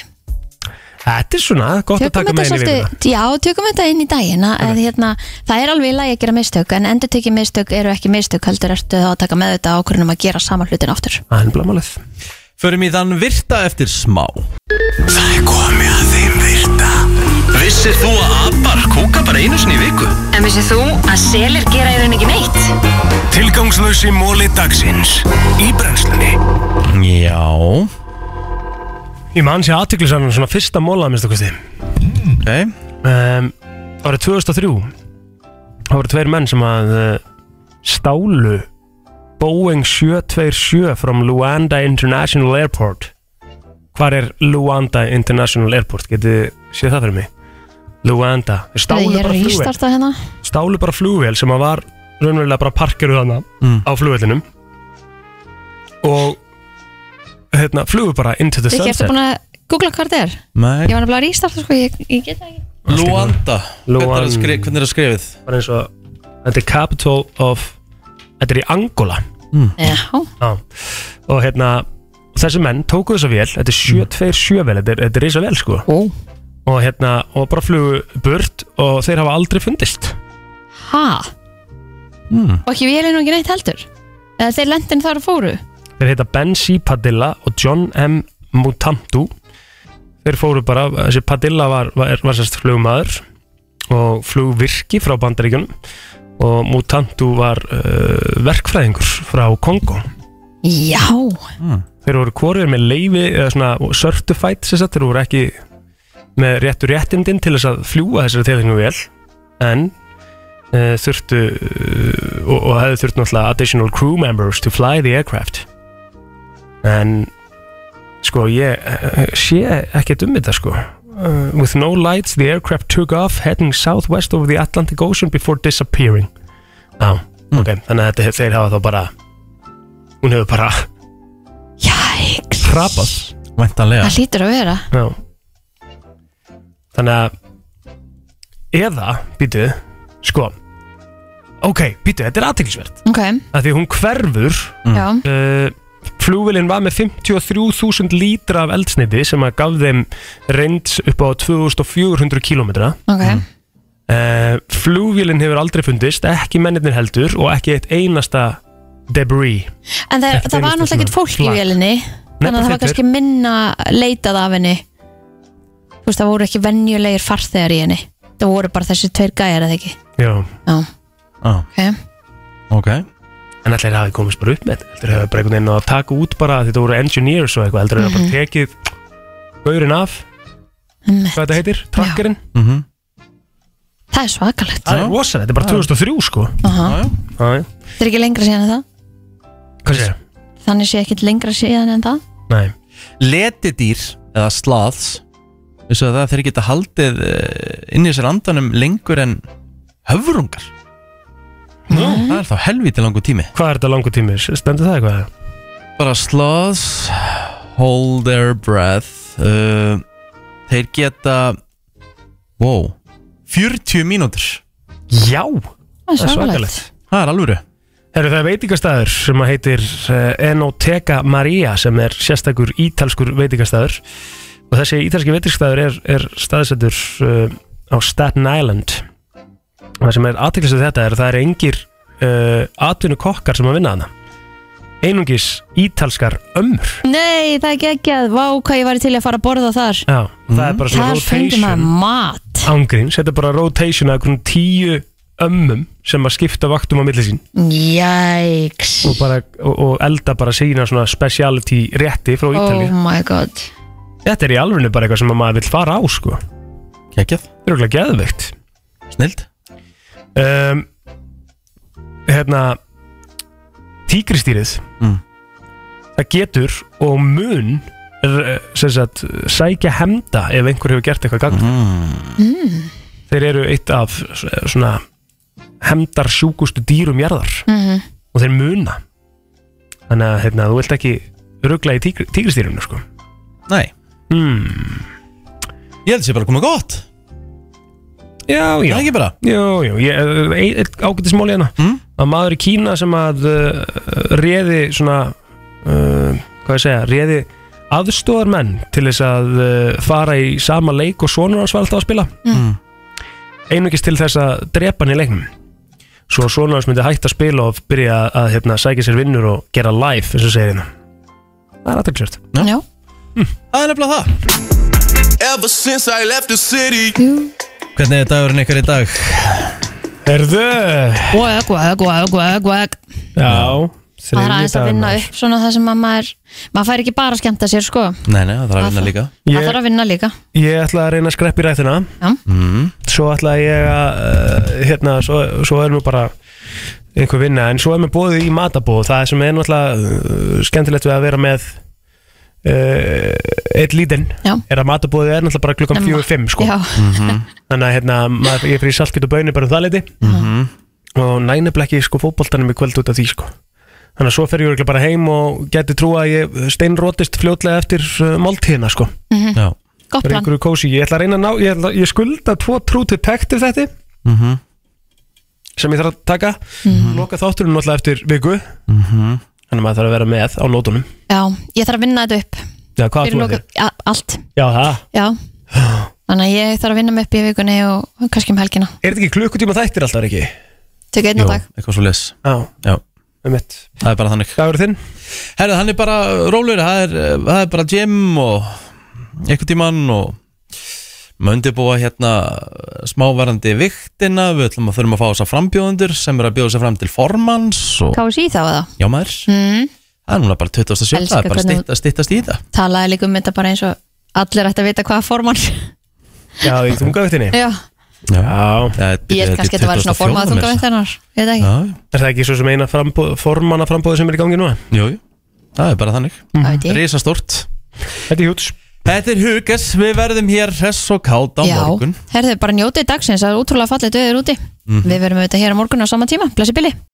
Þetta er svona, gott að taka tökum með þetta henni við svolítið já, tökum þetta inn í daginn að, að, hérna, það er alveg í lagi að gera mistök en endur tekið mistök eru ekki mistök heldur ertu þá að taka með þetta ákvörðunum að gera saman hlutin aftur Það er blamálið Förum í þann virta eftir smá Það er komið að þeim virta Vissir þú að abar kúka bara einu sinni í viku? En vissið þú að selir gera í rauninni ekki neitt? Tilgangslösi móli dagsins Í brennslunni Já Ég mann sé aðtiklisanum svona fyrsta móla að minnstu kosti Ok um, Árið 2003 Það voru tveir menn sem að uh, stálu Boeing 727 from Luanda International Airport Hvar er Luanda International Airport? Getið þið séð það fyrir mig? Luanda Þeir stálu ég er bara að flugvél rýstarta hérna Stálu bara flugvél sem að var raunverulega bara parkeruð hana Mm. á flugvélinum og hérna, flugu bara into the Rikki, ertu sunset búin að googla hvað þetta er? Nei Ég var nefnilega að rýstarta sko, ég, ég get það ekki Luanda Hvernig er Luanda. það skri- hvernig er það skrifið? bara eins og þetta er capital of þetta er í Angola Já, á. og hérna þessi menn tóku þessa vél, þetta er 727 vel þetta er, þetta er reysa vel sko Ó. og hérna, og bara flugu burt og þeir hafa aldrei fundist ha Hmm, Og ekki við erum ekki neitt heldur Eða þeir lendin þar og fóru þeir heita Ben C. Padilla og John M. Mutantu þeir fóru bara, þessi Padilla var, var, var sérst flugmaður og flugvirki frá Bandaríkjunum og Mutantu var uh, verkfræðingur frá Kongo Já, þeir voru hvorið með leifi eða svona certified sem sagt, þeir voru ekki með réttu réttindin til þess að fljúa þessari tilhengu vel en uh, þurftu uh, og, og hefðu þurftu náttúrulega additional crew members to fly the aircraft en sko ég uh, sé ekkert um þetta sko Uh, with no lights, the aircraft took off heading southwest over the Atlantic Ocean before disappearing Já, ok, þannig að þetta, þeir hafa þá bara hún hefur bara jæks hrapað Væntanlega Það hlýtur að vera Já Þannig að Eða, býtu, sko Ok, býtu, þetta er aðteklisvert Ok, að Því hún hverfur já, uh, Flúvilin var með 53.000 lítra af eldsneiti sem að gaf þeim reynd upp á 2400 kilometra ok uh, Flúvilin hefur aldrei fundist ekki mennirnir heldur og ekki eitt einasta debris En það, það Þetta er var einasta náttúrulega ekkert svona fólk í flak. vélinni Þannig að það var bara kannski minna leitað af henni Þú veist, það voru ekki venjulegir farþegar í henni Það voru bara þessi tveir gæjar eða ekki Já Já, ah, ok Ok En allir hafi komist bara upp með þetta Allir hafi bara einhvern veginn náð að taka út bara að Þetta voru engineers og eitthvað Allir hafi bara tekið Gaurinn af, Einmitt. hvað þetta heitir, trakkerinn mm Það er svakalegt Það er rosalega, þetta er bara 2003 sko Aha. Já, já. Hvað Það er ekki lengra síðan en það sér? Þannig sé ekkert lengra síðan en það Nei, Letidýr eða slaths Vissu að það þeir geta haldið eh, inn í sér andanum lengur en höfrungar Nú, það er þá helvítið langu tími hvað er þetta langu tími? Stendur það eitthvað? Bara sloths Hold their breath uh, Þeir geta Wow 40 mínútur Já, Það það er er svakalegt svakalegt Það er alvöru Eru það er veitingastæður sem að heitir eh, Enoteca Maria sem er sérstakur ítalskur veitingastæður og þessi ítalski veitingastæður er, er staðsettur uh, á Staten Island og það sem er aðteklis við þetta er að það er engir uh, atvinnu kokkar sem að vinna hana einungis ítalskar ömmur Nei, það er geggjað, vá hvað ég var til að fara að borða þar Já, það er bara svona Þar fengi Mm. maður rotation mat ángríns, þetta er bara rotation af einhvern tíu ömmum sem að skipta vaktum á milli sín Jæks og, bara, og, og elda bara sína svona speciality rétti frá Ítalíu Oh my god Þetta er í alveg bara eitthvað sem að maður vil fara á sko Það Kekjað, er okkur geðveikt snild um, Hérna Tígristýrið Mm. Það getur og mun r- sem sagt sækja hemda ef einhver hefur gert eitthvað gagn Mm. Þeir eru eitt af s- svona hemdar sjúkustu dýrum jarðar Mhm. og þeir muna Þannig að hérna, þú vilt ekki ruggla í tígr, tígristýrinu sko. Nei Hmm. Ég held að sé bara að koma gott Já, Það já er ekki bara Jú, jú, ég, eh, ein- einn ágættis mál hérna Mm. að maður í Kína sem að uh, réði svona uh, hvað ég segja, réði aðstóðarmenn til þess að uh, fara í sama leik og sonur hans var alltaf að spila Hmm. Mm. einungis til þess að drepa hann í leiknum svo að sonur hans myndi hægt að spila og byrja að, að hérna, sækja sér vinnur og gera live eins og segir hérna það er aðtöksjört Já. Já. Það er nefnilega það Ever since I left the city Hvernig er dagurinn ykkar í dag? Erðu? Gwag, gwag, gwag, gwag, gwag Já Það er aðeins að vinna upp svona það sem að maður maður fær ekki bara að skemmta sér sko Nei, nei, það er að vinna líka Það þarf að vinna líka Ég ætla að reyna að skreppi rættina Já. Mm. Svo ætla ég að uh, hérna, svo, svo er mér bara einhver vinna, en svo er mér bóðið í matabóð það sem er náttúrulega uh, skemmtilegt við að vera með uh, eitt lítinn Já. er að matabóðið er náttúrulega bara klukkan Snemma. 4-5 sko. Já, þannig að hérna, maður, ég fyrir saltkjöt og bönni bara um það leiti Mhm. og nænefla ekki sko fótboltanum í kvöld út af því sko þannig að svo fer ég örugglega bara heim og geti trú að ég steinrótist fljótlega eftir uh, máltíðina sko Já gott Það er plan einhverju kósi, ég ætla að reyna að ná Ég, ætla, ég skulda tvo trú til pektir þetta Mhm. sem ég þarf að taka Mhm. Loka þátturinn náttúrulega eftir viku Þannig að maður þarf að vera með á nótunum Já, ég þarf að vinna þetta upp Já, hvað Fyrir þú að loka- þér? Ja, Allt, Já, það já Þannig að ég þarf að vinna mig upp í vikunni og kannski um helgina Er þetta ekki klukkutíma þættir alltaf, ekki? Tökja einn Jú, á dag eitthvað svo les Já, Já, um mitt það er bara þannig Hvað eru þinn? Herðu, hann er bara rólur Það er, eh, það er bara gym og einhvern tímann og möndi búa hérna eh, smávarandi viktina Við ætlum að þurfum að fá þess að frambjóðundur sem er að bjóða sig fram til formans og KSI þá eða já maður mm. Það er núna bara 27, það Elska er bara hvernig- styttast, styttast í það Talaði líka um þetta bara eins og allir ætti að vita hvað formann Já, í þungavittinni Já, Já Það er- ég held kannski að þetta var svona 24 formað meira. þungavendarinnar Ég veit ekki, Já, Er það ekki svo sem eina frambúð, formanna sem er í gangi núna? jú, jú, það er bara þannig það veit ég Rísastórt Þetta er hjúts Þetta er Hugas, við verðum hér hress og kátt á Já, morgun Mhm. herðu bara njótið dagsins, það er útrúlega fallið döður úti Við verum auðvitað hér á morgun á sama tíma, blessi Billy